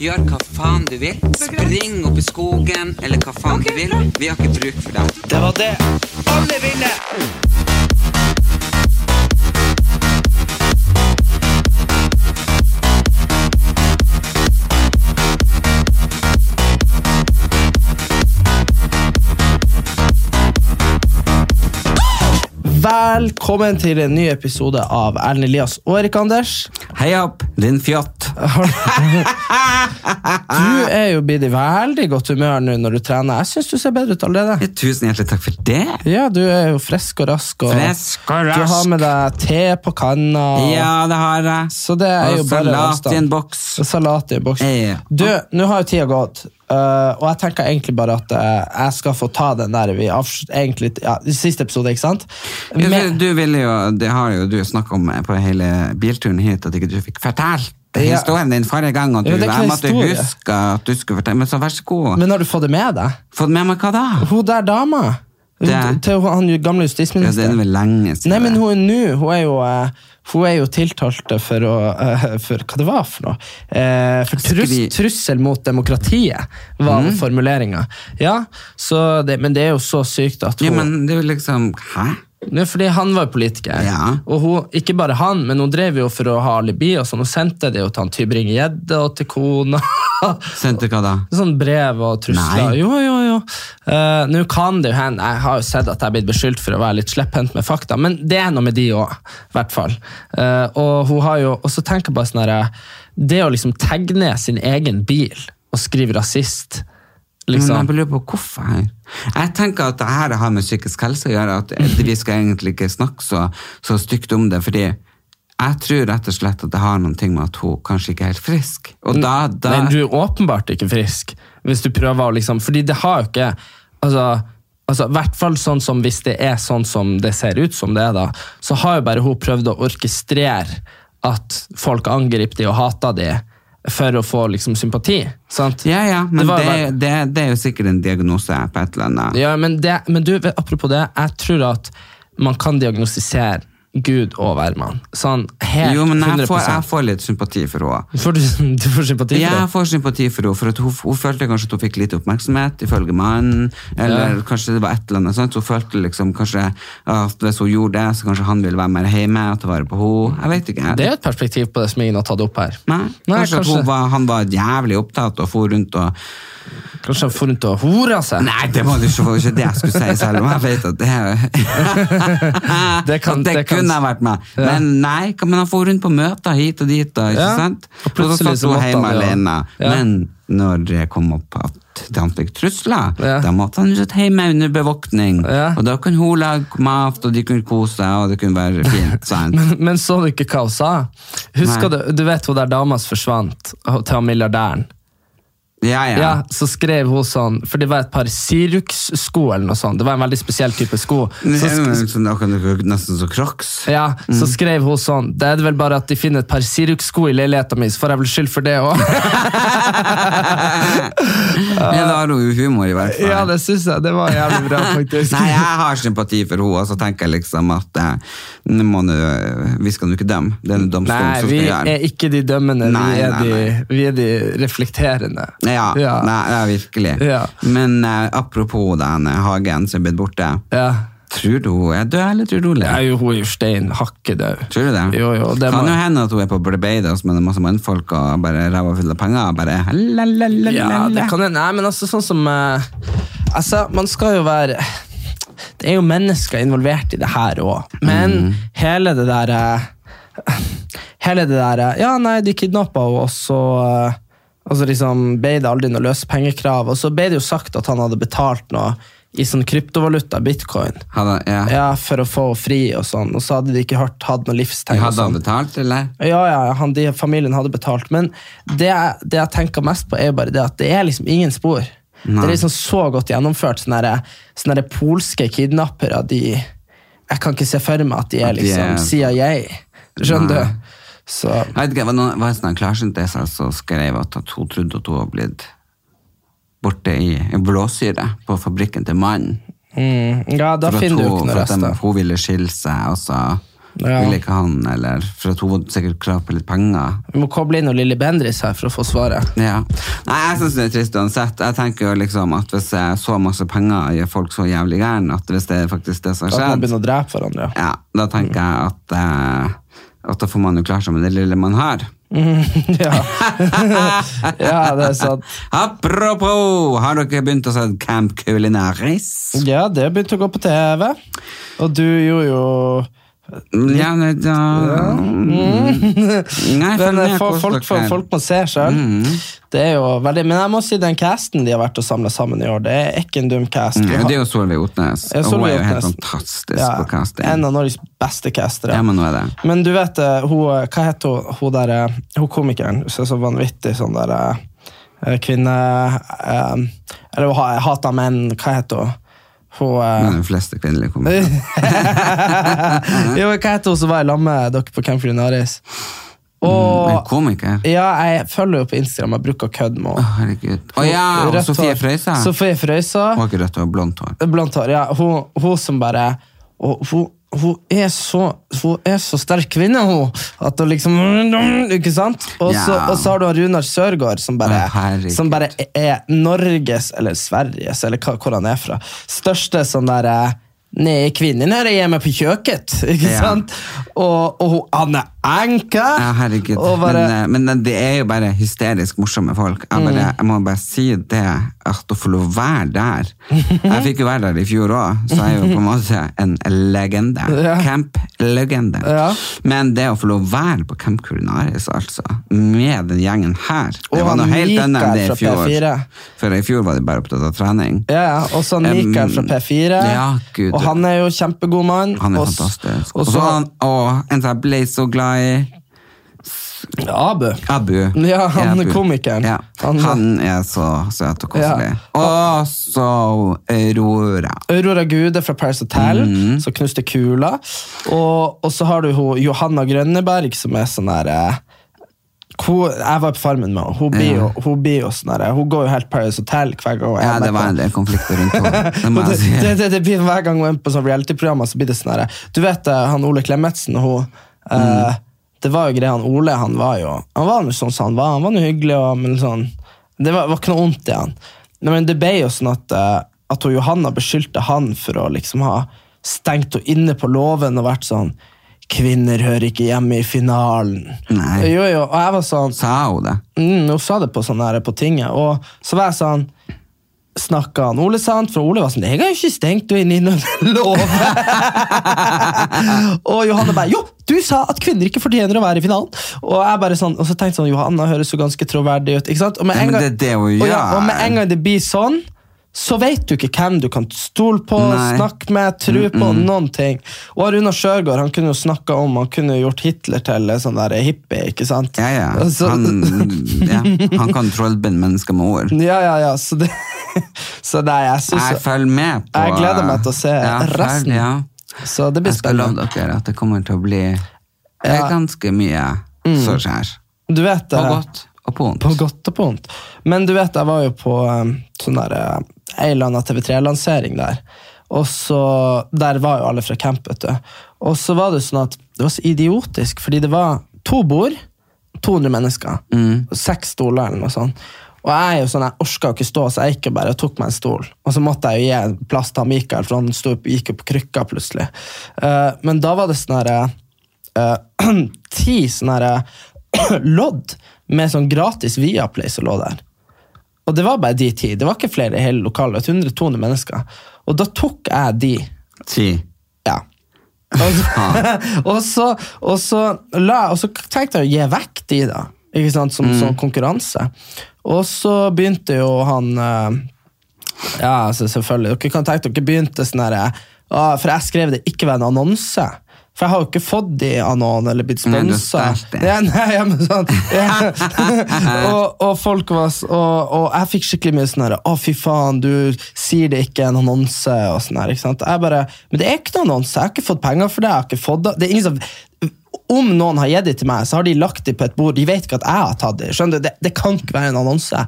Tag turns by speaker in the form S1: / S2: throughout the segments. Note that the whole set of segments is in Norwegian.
S1: Gjør hva faen du vil. Spring opp i skogen, eller hva faen du vil. Vi har ikke bruk for deg. Det var det alle ville!
S2: Velkommen til en ny episode av Erlend Elias og Erik Anders.
S1: Hei opp, din fjott.
S2: Ah. Du er jo blitt i veldig godt humør nå når du trener. Jeg syns du ser bedre ut allerede.
S1: Tusen hjertelig takk for det.
S2: Ja, du er jo frisk og rask. Og
S1: Frisk og
S2: Du har
S1: rask.
S2: med deg te på kanna. og-
S1: Ja, det har jeg.
S2: Så det er jo
S1: og
S2: bare
S1: salat
S2: avstand.
S1: i en boks.
S2: Og Salat i en boks.
S1: Ja.
S2: Du, nå har jo tida gått, eh, og jeg tenker egentlig bare at eh, jeg skal få ta den der vi avs- egentlig, ja, i siste episode, ikke sant?
S1: Du,
S2: Med-
S1: du ville jo, det har jo du snakka om eh, på hele bilturen hit, at ikke du fikk fortalt
S2: Ja.
S1: historien din forrige gang. Og du,
S2: Ja, det er ikke
S1: jeg måtte
S2: historie.
S1: huske at du skulle fortelle, men så vær så god.
S2: men har du fått det med deg?
S1: Fått med meg hva da?
S2: Hun der dama
S1: Det-
S2: til han gamle
S1: Ja, det
S2: justisministeren.
S1: er vel lenge siden.
S2: Nei, men hun er nå Hun er jo eh, hun er jo tiltalt for å eh, For hva det var for noe? Eh, For trus,
S1: Skri-
S2: trussel mot demokratiet, var mm. formuleringa. Ja, så det, men det er jo så sykt at hun
S1: Ja, men det er jo liksom Hæ?
S2: Nei, fordi han var jo politiker,
S1: Ja.
S2: og hun, ikke bare han, men hun drev jo for å ha alibi, og sånn, hun sendte det jo til han Tybring-Gjedde og til kona.
S1: Sendte hva da?
S2: sånn brev og trusler.
S1: Nei.
S2: Jo, jo, jo. Eh, Nå kan det jo hende, jeg har jo sett at jeg er blitt beskyldt for å være litt slepphendt med fakta, men det er noe med de òg, i hvert fall. Eh, og hun har jo, og så tenker jeg bare sånn herre Det å liksom tagge ned sin egen bil og skrive rasist,
S1: Men jeg
S2: liksom.
S1: bare lurer på hvorfor. Jeg tenker at det her har med psykisk helse å gjøre, at vi skal egentlig ikke snakke så, så stygt om det, fordi jeg tror rett og slett at det har noen ting med at hun kanskje ikke er helt frisk. Og da, da
S2: Nei, du er åpenbart ikke frisk, hvis du prøver å liksom Fordi det har jo ikke Altså, altså i hvert fall sånn som hvis det er sånn som det ser ut som det er, da, så har jo bare hun prøvd å orkestrere at folk angriper de og hater de for å få liksom sympati. Sant?
S1: Ja, ja, men
S2: Det
S1: det,
S2: var jo
S1: det,
S2: bare-
S1: det, er jo sikkert en diagnose på et eller annet.
S2: Ja, men, det, men du, vet- apropos det, jeg tror at man kan diagnostisere Gud og hvermann. Sånn helt
S1: jo, men jeg
S2: 100
S1: får, jeg får litt sympati for henne.
S2: Får du, du får sympati for
S1: Jeg
S2: det?
S1: får sympati for henne, for at hun, hun følte kanskje at hun fikk lite oppmerksomhet, ifølge mannen, eller kanskje det var et eller annet, sant? hun følte liksom kanskje at hvis hun gjorde det, så kanskje han ville være mer hjemme og ta vare på henne. Jeg vet ikke.
S2: Det er jo et perspektiv på det som ingen har tatt opp her.
S1: Nei, kanskje, at hun var, han var jævlig opptatt og for rundt og...
S2: Kanskje han får rundt og horer seg?
S1: Nei, det var det ikke, var ikke det jeg skulle si selv om jeg vet at det...
S2: Det kan-
S1: At det,
S2: det kan-
S1: kunne jeg vært med. Men nei, kan- men han får rundt på møter hit og dit, og, ikke
S2: Ja.
S1: sant?
S2: Og
S1: Og så
S2: plutselig
S1: satt
S2: så
S1: hun
S2: måtte
S1: hjemme
S2: han, ja.
S1: alene.
S2: Ja.
S1: Men når det kom opp at han fikk trusler,
S2: Ja.
S1: da måtte han sitte hjemme under bevoktning.
S2: Ja.
S1: Og da kunne hun lage mat, og de kunne kose seg, og det kunne være fint, sant?
S2: Men, men så du ikke hva hun sa? Husker du,
S1: Nei.
S2: du vet hun der dama som forsvant til han milliardæren?
S1: Ja, ja.
S2: Ja. Så skrev hun sånn, for det var et par Sirux-sko eller noe sånt. Det var en veldig spesiell type sko.
S1: Det
S2: Så,
S1: er
S2: sk-
S1: jo liksom- det er jo nesten så kroks.
S2: ja, så
S1: Mm.
S2: skrev hun sånn Det er det vel bare at de finner et par Sirux-sko i leiligheten min, så får jeg vel skyld for det òg.
S1: Ja, da har hun jo humor i hvert fall.
S2: ja, det syns jeg. Det var jævlig bra, faktisk.
S1: Nei, jeg har sympati for henne, og så tenker jeg liksom at eh, nå må nå- vi skal nå ikke dømme. Det er en domstol
S2: Nei,
S1: som skal
S2: vi
S1: gjøre
S2: er ikke de dømmende,
S1: Nei,
S2: vi, er
S1: nei, nei.
S2: De, vi er de reflekterende.
S1: Ja,
S2: Ja.
S1: Nei, ja virkelig.
S2: Ja.
S1: Men eh, apropos den eh, hagen som er blitt borte.
S2: Ja.
S1: Tror du hun er død, eller tror du hun
S2: Jeg
S1: lever?
S2: er jo hun er jo stein hakkedau.
S1: Tror du det?
S2: Jo, jo, det
S1: kan
S2: må-
S1: jo hende at hun er på Barbados med masse mannfolk og bare ræva full av penger. og Bare halalalala.
S2: Ja, det kan hende. Nei, men altså, sånn som eh, Altså, man skal jo være Det er jo mennesker involvert i det her òg, men
S1: Mm.
S2: hele det der eh, Hele det der eh, Ja, nei, de kidnappa henne, og så eh, og så liksom ble det aldri noe løsepengekrav, og så ble det jo sagt at han hadde betalt noe i sånn kryptovaluta, bitcoin,
S1: Hadde, ja.
S2: ja, for å få fri og sånn, og så hadde de ikke hørt, hatt noe livstegn. og
S1: Hadde
S2: sånn.
S1: han betalt, eller?
S2: Ja, ja, han, de, familien hadde betalt. Men det, jeg- det jeg tenker mest på, er jo bare det at det er liksom ingen spor. Det er liksom så godt gjennomført. Sånne, her- sånne her polske kidnappere, de Jeg kan ikke se for meg at de er
S1: At de er-
S2: liksom CIA. Skjønner
S1: Nei.
S2: du? Så
S1: Jeg vet ikke, var noen, var en sånn klarsynt det som altså skrev at at hun trodde at hun var blitt borte i en blåsyre på fabrikken til mannen.
S2: mm, Ja, da
S1: For at
S2: finner du jo
S1: hun-
S2: ikke noe
S1: for at
S2: rest
S1: dem-
S2: da.
S1: Hun ville skille seg, og så
S2: Ja.
S1: ville ikke han, eller for at hun hadde sikkert krav på litt penger.
S2: Vi må koble inn noe Lilly Bendriss her for å få svaret.
S1: Ja. Nei, jeg synes det er trist uansett. Jeg tenker jo liksom at hvis jeg så masse penger gjør folk så jævlig gæren, at hvis det er faktisk det som har
S2: At man
S1: skjedd,
S2: begynner å drepe hverandre.
S1: ja, da tenker jeg at, eh, at da får man jo klare seg med det lille man har.
S2: ja. ja, det er sant.
S1: Apropos, har dere begynt å se Camp Culinaris?
S2: Ja, det begynte å gå på TV. Og du gjorde jo
S1: Ja, nei, da... Mm. Nei, følg
S2: Men eh,
S1: med,
S2: for,
S1: kos
S2: folk, for,
S1: dere.
S2: folk må se sjøl.
S1: Mm.
S2: Det er jo veldig, men jeg må si den casten de har vært og samla sammen i år, det er ikke en dum cast.
S1: Ja, det er jo Solveig Otnes.
S2: Ja,
S1: og hun
S2: Solveig
S1: er jo helt
S2: Otnes.
S1: fantastisk
S2: Ja,
S1: på casting.
S2: En av Norges beste castere.
S1: Ja, men nå er det.
S2: Men du vet, eh, hun, hva het hun, hun der, eh, hun komikeren som er så vanvittig sånn der eh, kvinne eh, Eller hun ha- hater menn, hva het hun? Hun eh,
S1: Men de fleste kvinnelige komikere.
S2: Jo, men hva het hun som var i lag med dere på Camp Culinaris?
S1: Mm,
S2: Og,
S1: En komiker?
S2: ja, jeg følger jo på Instagram, jeg bruker å kødde med
S1: Å,
S2: henne.
S1: herregud. Å ja, og
S2: Rødt
S1: Sofie
S2: hår.
S1: Frøysa.
S2: Sofie Frøysa.
S1: Hun har ikke rødt hår, blondt hår.
S2: Blant hår, ja. Hun, hun som bare og hun, hun, er så, hun er så sterk kvinne, hun! At hun liksom Ikke sant? Og så,
S1: Ja.
S2: og så har du han Runar Sørgaard, som bare,
S1: Å, herregud.
S2: som bare er Norges, eller Sveriges, eller hva, hvor han er fra, største sånn derre Nei, kvinnen her er hjemme på kjøkkenet, ikke
S1: Ja.
S2: sant? Og, og hun Anne Anka!
S1: Ja, herregud.
S2: Og bare, Mm.
S1: men, eh, men det er jo bare hysterisk morsomme folk. Jeg, bare, jeg må bare si det, at å få lov å være der Jeg fikk jo være der i fjor òg, så jeg er jo på en måte en legende.
S2: Ja.
S1: Camp-legende.
S2: Ja.
S1: Men det å få lov å være på Camp Culinaris, altså, med den gjengen her Det
S2: Og
S1: var
S2: han
S1: noe helt annet enn det
S2: Mikael
S1: i
S2: fra
S1: fjor.
S2: P4.
S1: For i fjor var de bare opptatt av trening.
S2: Ja, ja. Og så
S1: Eh,
S2: Mikael fra P4.
S1: ja, Gud.
S2: Og han er jo kjempegod mann.
S1: Han er
S2: Og s-
S1: fantastisk.
S2: Og
S1: Og så han, å, en som jeg ble så glad i.
S2: Abu.
S1: Abu.
S2: Ja, han
S1: Abu.
S2: komikeren.
S1: Ja.
S2: Han-
S1: Han, er så søt og koselig.
S2: Ja.
S1: Og så Aurora.
S2: Aurora Gude fra Paris Hotel,
S1: Mhm.
S2: som knuste kula. Og, og så har du hun, Johanna Grønneberg, som er sånn her eh, hun, Jeg var på Farmen med henne. Hun, blir jo- hun, blir jo sånn her, hun går jo helt Paris Hotel hver gang. hun er
S1: Ja,
S2: med
S1: det var
S2: på-
S1: en del konflikter rundt henne. Det må
S2: Og
S1: jeg
S2: det,
S1: si.
S2: det, det, det blir Hver gang hun er på sånn reality-programmer, så blir det sånn her Du vet eh, han Ole Klemetsen og hun
S1: Mm.
S2: eh, Det var jo greia han Ole, han var jo Han var jo sånn som han var, han var jo hyggelig, og, men sånn Det var, var ikke noe vondt i han. Nei, men det ble jo sånn at, eh, at hun Johanna beskyldte han for å liksom ha stengt henne inne på låven og vært sånn Kvinner hører ikke hjemme i finalen.
S1: Nei.
S2: Jo, jo, og jeg var sånn
S1: Sa hun det?
S2: mm, Hun sa det på sånn her på tinget, og så var jeg sånn Snakka han Ole sant? For Ole var sånn 'Jeg har jo ikke stengt deg inn i noen lov'. og Johanne bare 'Jo, du sa at kvinner ikke fortjener å være i finalen'. Og jeg bare sånn, og så tenkte jeg sånn Johanna høres jo ganske troverdig ut. ikke sant? Og med
S1: Ja,
S2: en
S1: men
S2: gang,
S1: det er det hun
S2: og, ja,
S1: gjør.
S2: og med en gang det blir sånn, så vet du ikke hvem du kan stole på,
S1: Nei. Mm,
S2: snakke med, tro på, noen ting. Og Runar Sjøgaard han kunne jo snakka om han kunne jo gjort Hitler til en sånn der hippie. ikke sant?
S1: Ja, ja.
S2: Og så-
S1: Han, ja. han kan trollbinde mennesker med ord.
S2: Ja, ja, ja. Så, det, så nei, jeg
S1: Jeg
S2: syns
S1: følger med på eh,
S2: Jeg gleder meg til å se resten.
S1: følg- Ja.
S2: Så det blir
S1: Jeg skal love
S2: spennende.
S1: dere at det kommer til å bli det er
S2: Ja.
S1: ganske mye som skjer.
S2: Du vet
S1: På
S2: eh,
S1: godt og på vondt.
S2: På godt og på vondt. Men du vet, jeg var jo på um, sånn der, eh, ei eller annen TV3-lansering der. Og så, Der var jo alle fra camp, vet du. Og så var det sånn at det var så idiotisk, fordi det var to bord, 200 mennesker, og seks stoler eller noe sånt. Og jeg er jo sånn, jeg orka ikke stå, så jeg gikk jo bare og tok meg en stol. Og så måtte jeg jo gi plass til han Mikael, for han sto, gikk jo på krykka plutselig. Eh, men da var det sånn herre eh, ti sånne her lodd med sånn gratis Viaplay som lå der. Og det var bare de ti. Det var ikke flere i hele lokalet. 100-200 mennesker. Og da tok jeg de.
S1: Ti.
S2: Ja. Og så, Altså, og så, og så, la, og så tenkte jeg å gi vekk de, da.
S1: Mm.
S2: Ikke sant? Som, som konkurranse. Og så begynte jo han eh, Ja, altså, selvfølgelig. Dere kan tenke dere begynte sånn her «Å, For jeg skrev det ikke var en annonse. For jeg har jo ikke fått de av noen eller blitt
S1: Nei, du
S2: sponsa.
S1: stjal det.
S2: Ja, nei, ja, men sånn. ja. og, og folk var s- og, og jeg fikk skikkelig mye sånn her Å, fy faen, du sier det ikke er en annonse. Og sånn her, ikke sant? Jeg bare Men det er ikke noen annonse. Jeg har ikke fått penger for det. Jeg har ikke fått det. det er ingen som om noen har gitt det til meg, så har de lagt det på et bord. De vet ikke at jeg har tatt det. Skjønner du? Det, det kan ikke være en annonse.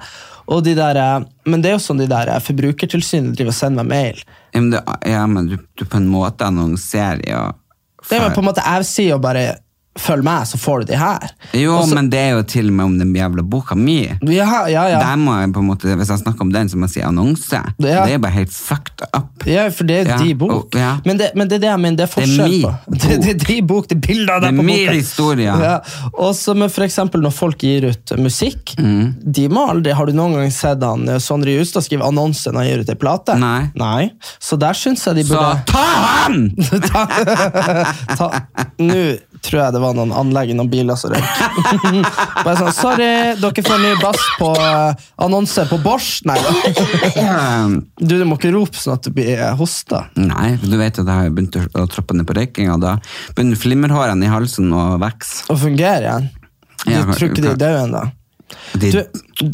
S2: Og de der, eh, men det er jo sånn de der eh, Forbrukertilsynet driver og sender meg mail.
S1: Ja, men, det, ja, men du, du på en måte annonserer jo
S2: Det er jo på en måte Jeg sier jo bare 'følg meg, så får du de her'.
S1: Jo,
S2: Og så-
S1: men det er jo til og med om den jævla boka mi.
S2: Ja, ja, ja.
S1: Der må jeg på en måte, Hvis jeg snakker om den, så må jeg si annonse.
S2: Ja.
S1: Det er bare helt fucked up.
S2: Ja, for det er
S1: Ja,
S2: de bok.
S1: og- ja.
S2: men, det, men det er det jeg mener, det er forskjell
S1: min
S2: på. Det, det er de bok, det er bilder av
S1: Det er
S2: deg på
S1: min
S2: boka.
S1: historie.
S2: Ja. Og så med for eksempel når folk gir ut musikk,
S1: Mm.
S2: de må aldri, har du noen gang sett han eh, Sondre Justad skrive annonse når han gir ut en plate?
S1: Nei.
S2: Så der syns jeg de
S1: Så
S2: burde
S1: ta han!
S2: Ta- ta- Nå tror jeg det var noen anlegg i noen biler som røyk. Bare sånn, sorry, dere får mye bass på eh, annonse på Bosch. Nei da. Du, du må ikke rope sånn at du blir eh, hosta.
S1: Nei, for du vet at jeg har jo begynt å, å trappe ned på røykinga. Da begynner flimmerhårene i halsen å vokse.
S2: Å fungere igjen. Du
S1: Ja,
S2: tror ikke de
S1: kan-
S2: er døde ennå?
S1: De,
S2: Du,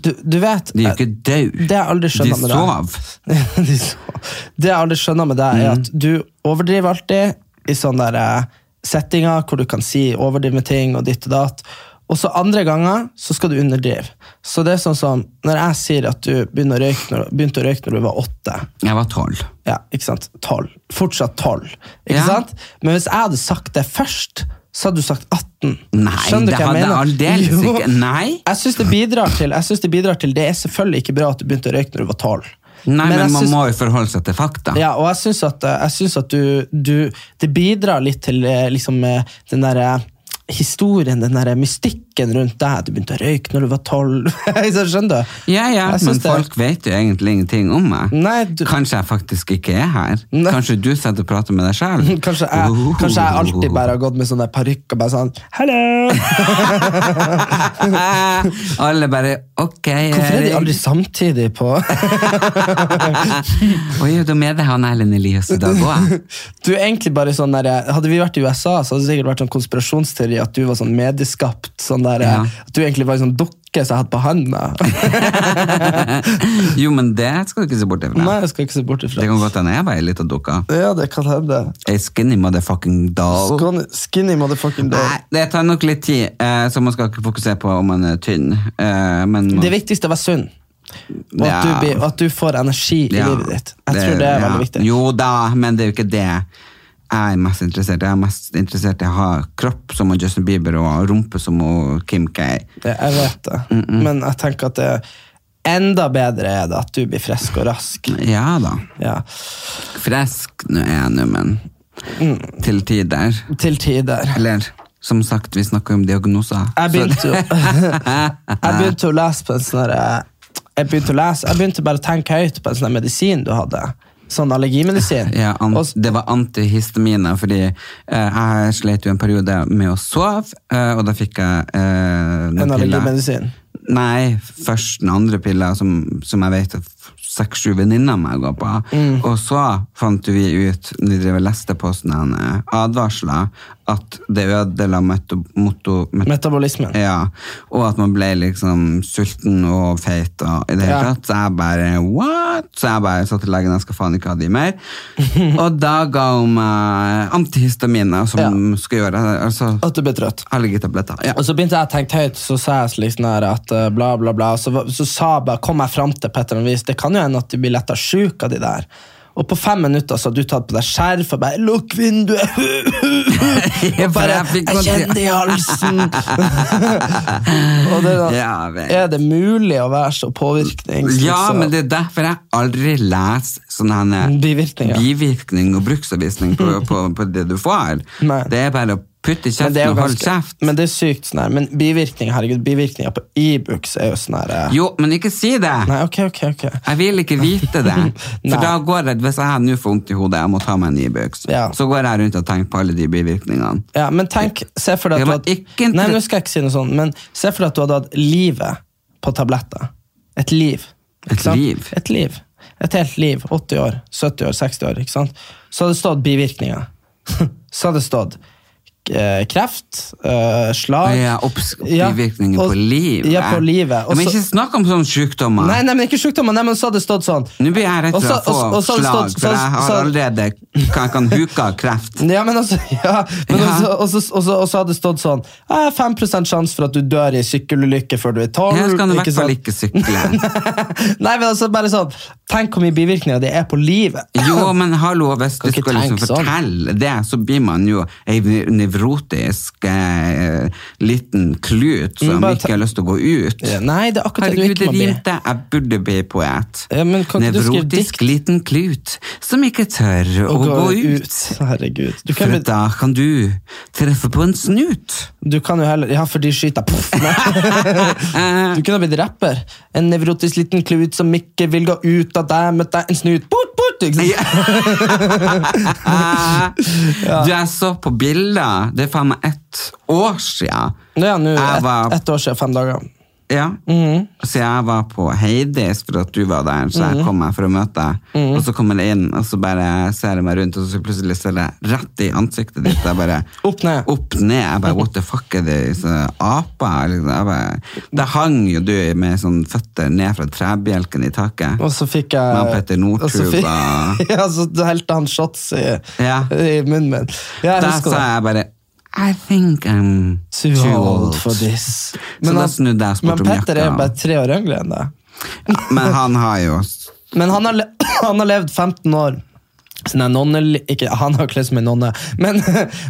S2: du, du vet
S1: de er jo ikke døde.
S2: Det jeg aldri skjønner med
S1: de sov.
S2: deg De sov. Det jeg aldri skjønner med deg, er
S1: Mm.
S2: at du overdriver alltid i sånne der, eh, settinger hvor du kan si overdrive ting og ditt og datt. Og så andre ganger så skal du underdrive. Så det er sånn som når jeg sier at du begynner å røyke når, begynte å røyke når du var åtte.
S1: Jeg var tolv.
S2: Ja, ikke sant? 12. Fortsatt 12. Ikke
S1: Ja.
S2: sant? Men hvis jeg hadde sagt det først, så hadde du sagt 18.
S1: Nei,
S2: Skjønner du
S1: det
S2: hva jeg
S1: hadde
S2: mener?
S1: jeg aldeles
S2: Jo.
S1: ikke. Nei.
S2: Jeg syns det bidrar til Jeg synes Det bidrar til Det er selvfølgelig ikke bra at du begynte å røyke når du var 12.
S1: Nei, men,
S2: jeg
S1: man
S2: synes-
S1: må jo forholde seg til fakta.
S2: ja, og jeg syns at, eh, jeg synes at du, du Det bidrar litt til eh, liksom, eh, den derre historien, den derre mystikken rundt deg. Du begynte å røyke når du var tolv. Skjønner du?
S1: Ja, ja,
S2: Jeg
S1: men
S2: synes det-
S1: folk vet jo egentlig ingenting om meg.
S2: Nei, du-
S1: Kanskje jeg faktisk ikke er her.
S2: Nei.
S1: Kanskje du sitter og prater med deg sjøl.
S2: Kanskje jeg,
S1: Uh-huh.
S2: kanskje jeg alltid bare har gått med sånn der parykk og bare sånn Hello!
S1: Alle bare ok. eh,
S2: Hvorfor er de
S1: Erik.
S2: aldri samtidig på
S1: Oi, da er det han Erlend Elias i dag òg.
S2: Du er egentlig bare sånn der, Hadde vi vært i USA, så hadde det sikkert vært sånn konspirasjonsteori at du var sånn medieskapt. Sånn der,
S1: Ja.
S2: At du egentlig var en sånn dukke som jeg hadde på handa.
S1: Jo, men det skal du ikke se bort ifra.
S2: Nei, jeg skal ikke se bort
S1: Det
S2: ifra.
S1: kan godt hende jeg var ei lita dukke.
S2: Ja, det kan hende.
S1: Ei skinny motherfucking doll.
S2: Skinny, skinny motherfucking dog.
S1: Nei, det tar nok litt tid, eh, så man skal ikke fokusere på om man er tynn. Eh, men man,
S2: Det viktigste er å være sunn. Og at, du,
S1: Ja.
S2: blir- og at du får energi i
S1: Ja,
S2: livet ditt. Jeg tror det er
S1: ja.
S2: veldig viktig.
S1: Jo da, men det er jo ikke det jeg er mest interessert i. Jeg er mest interessert i å ha kropp som hun Justin Bieber og rumpe som hun Kim K.
S2: Det, jeg vet det.
S1: Mm,
S2: Men jeg tenker at det enda bedre er det at du blir frisk og rask.
S1: Ja da.
S2: Ja.
S1: Frisk nå er jeg nå, men
S2: Mm.
S1: til tider.
S2: Til tider.
S1: Eller som sagt, vi snakker jo om diagnoser.
S2: Jeg begynte jo Jeg
S1: begynte
S2: begynte å lese på en sånn derre- Jeg begynte å lese Jeg begynte bare å tenke høyt på en sånn der medisin du hadde. Sånn allergimedisin.
S1: Ja, an
S2: Og s-
S1: det var antihistaminer, fordi eh, jeg slet jo en periode med å sove, eh, og da fikk jeg eh, noen
S2: en
S1: piller.
S2: allergimedisin.
S1: Nei, først den andre pilla som, som jeg vet at seks-sju venninner av meg går på.
S2: Mm.
S1: Og så fant vi ut, når vi drev og leste på sånne advarsler, at det ødela meto, moto, met,
S2: Metabolismen.
S1: ja, og at man ble liksom sulten og feit og i det hele
S2: Ja.
S1: tatt. Så jeg bare what? Så jeg bare sa til legen jeg skal faen ikke ha de mer. og da ga hun meg antihistaminer som
S2: Ja.
S1: skal gjøre altså,
S2: At du ble trøtt.
S1: allergitabletter. Ja.
S2: Og så begynte jeg å tenke høyt, så sa jeg slik sånn her at eh, bla, bla, bla. Så, var- så sa jeg bare, kom jeg fram til på et eller annet vis, det kan jo hende at du blir letta sjuk av de der. Og på fem minutter så hadde du tatt på deg skjerf og bare 'lukk vinduet'! og bare
S1: jeg fikk sånn-
S2: 'jeg kjenner det i halsen'! og det er, sånn,
S1: Ja, vel.
S2: er det mulig å være så påvirknings...
S1: Ja,
S2: liksom?
S1: men det er derfor jeg aldri leser sånne her
S2: Mm, Bivirkninger.
S1: bivirkning og bruksanvisning på, på, på det du får.
S2: Nei.
S1: Det er bare å putte i
S2: Men det er
S1: kjeften
S2: jo
S1: og holde
S2: ganske-
S1: kjeft.
S2: Men det er sykt sånn her. Men bivirkninger, herregud, bivirkninger på Ibux er jo sånn her eh,
S1: Jo, men ikke si det!
S2: Nei, ok, ok, ok.
S1: Jeg vil ikke vite det. For
S2: Nei.
S1: da går jeg, Hvis jeg nå får vondt i hodet, jeg må ta meg en Ibux,
S2: Ja.
S1: så går jeg rundt og tenker på alle de bivirkningene.
S2: Ja, men tenk, se for deg at
S1: Det
S2: du
S1: var
S2: hadde,
S1: ikke en
S2: Nei,
S1: tru-
S2: nå skal jeg ikke si noe sånt, men se for deg at du hadde hatt livet på tabletter. Et liv.
S1: Et
S2: Ikke sant?
S1: liv?
S2: Et liv. Et helt liv. 80 år, 70 år, 60 år. ikke sant? Så hadde det stått bivirkninger. Så hadde det stått eh, kreft, eh, slag
S1: Ja, obs-
S2: Ja,
S1: bivirkninger
S2: og-
S1: på liv. eh.
S2: Ja, på livet.
S1: Ja,
S2: Og
S1: men
S2: så-
S1: ikke snakk om sånne sykdommer.
S2: Nei, nei, men ikke sjukdommer. Nei, men så hadde det stått sånn.
S1: Nå blir jeg redd
S2: Og
S1: for
S2: så-
S1: å få
S2: og- og så hadde det
S1: slag,
S2: stått-
S1: for
S2: så-
S1: jeg har
S2: så-
S1: allerede kan, kan huke av kreft.
S2: Ja, men altså, ja, men
S1: Ja.
S2: Også, også, også, også hadde det stått sånn eh, 5 sjanse for at du dør i sykkelulykke før du er 12.
S1: Jeg skal i hvert fall
S2: sant?
S1: ikke sykle.
S2: Nei, men altså, bare sånn Tenk hvor mye bivirkninger det er på livet.
S1: Jo, men hallo, hvis du
S2: ikke
S1: skal liksom
S2: tenke sånn.
S1: fortelle det, så blir man jo ei nevrotisk eh, liten klut som
S2: bare
S1: ikke har lyst til å gå ut.
S2: Ja, Nei, det er akkurat det du
S1: Herregud,
S2: ikke
S1: det
S2: må bli.
S1: rimte. Jeg burde bli poet.
S2: Ja, men kan ikke du skrive
S1: Nevrotisk
S2: dikt?
S1: liten klut som ikke tør
S2: Å
S1: å, gå ut.
S2: Herregud. Du kan,
S1: For
S2: bli-
S1: da kan du treffe på en snut.
S2: du kan jo heller Ja, for de skyter Poff! Nei. Du kunne ha blitt rapper. En nevrotisk liten klut som ikke vil gå ut av deg, møtte deg en snut Bort, bort! Ikke sant?
S1: Ah, Du, jeg så på bilder, det er faen meg ett år siden.
S2: Nå ja, nå
S1: Jeg
S2: ett
S1: var-
S2: ett år siden, fem dager.
S1: Ja.
S2: Mm-hmm.
S1: Så jeg var på Heidis for at du var der, så jeg kom her for å møte deg.
S2: Mm-hmm.
S1: Og så kommer jeg inn, og så bare ser jeg meg rundt, og så plutselig ser jeg rett i ansiktet ditt. Jeg bare,
S2: Opp ned.
S1: Opp ned. Jeg bare, what the fuck er det? Så, aper? Liksom. Jeg bare, da hang jo du med sånn føtter ned fra trebjelken i taket.
S2: Og så fikk jeg
S1: Med Petter Northug
S2: og så
S1: og-
S2: fikk- Ja, så helte han shots i,
S1: Ja.
S2: i munnen min. Ja, jeg
S1: Da
S2: husker
S1: sa
S2: det.
S1: jeg bare, I think I'm
S2: Too old for this.
S1: Så da
S2: han-
S1: snudde jeg og spurte
S2: men
S1: om
S2: Petter er
S1: jakka.
S2: jo bare tre år yngre enn deg.
S1: Men han har jo
S2: Men han har, le han har levd 15 år. Sånn er nonne, ikke, han har kledd som en nonne, men,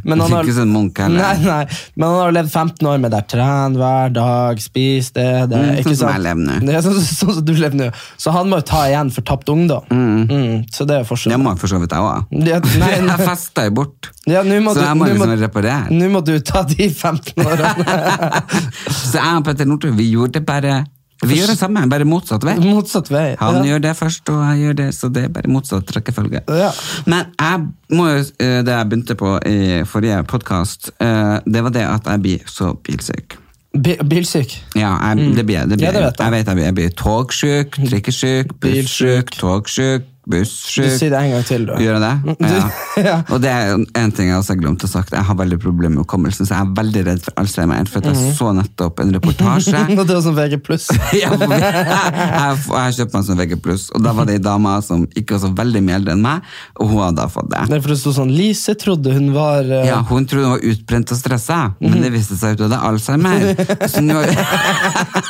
S2: men han har
S1: Ikke sånn munk heller.
S2: Nei, nei, men han har levd 15 år med der tren hver dag, spis det, det
S1: Mm,
S2: ikke
S1: sånn som
S2: sant?
S1: jeg lever nå.
S2: Det er sånn sånn som du lever nå. Så han må jo ta igjen for tapt ungdom. Mm, så det er jo
S1: Det
S2: forskjellen.
S1: må jeg for så vidt jeg òg.
S2: Ja, nei, nei.
S1: Jeg festa jo bort.
S2: Ja, nå må
S1: så
S2: du-
S1: jeg må
S2: nå må-
S1: liksom reparere.
S2: Nå må du ta de 15 årene
S1: Så jeg og Petter Northug, vi gjorde det bare Vi gjør det samme, bare motsatt vei.
S2: motsatt vei.
S1: Han
S2: ja.
S1: gjør det først, og jeg gjør det, så det er bare motsatt rekkefølge.
S2: Ja.
S1: Men jeg må jo, eh, det jeg begynte på i forrige podkast, det var det at jeg blir så bilsyk.
S2: Bi- Bilsyk.
S1: Ja, jeg, det blir, det
S2: Mm. Ja,
S1: blir
S2: det vet jeg. Mm.
S1: jeg. vet jeg blir, jeg blir togsjuk, trikkesjuk, bussjuk, togsjuk, bussjuk.
S2: Du sier det en gang til, Mm. du.
S1: Gjør jeg det? Ja. Og det er en ting jeg også har glemt å sagt. Jeg har veldig problemer med hukommelsen, så jeg er veldig redd for Alzheimer. For at
S2: Mm.
S1: jeg så nettopp en reportasje.
S2: Og det var sånn VG+. pluss.
S1: Ja, for jeg, jeg, jeg kjøpte meg en sånn VG+, og da var det ei dame som ikke var så veldig mye eldre enn meg, og hun hadde da fått det.
S2: Derfor det sto sånn Lise trodde hun var eh,
S1: Ja, hun trodde hun var utbrent og stressa,
S2: Mm.
S1: men det viste seg at hun hadde Alzheimer. Så nå...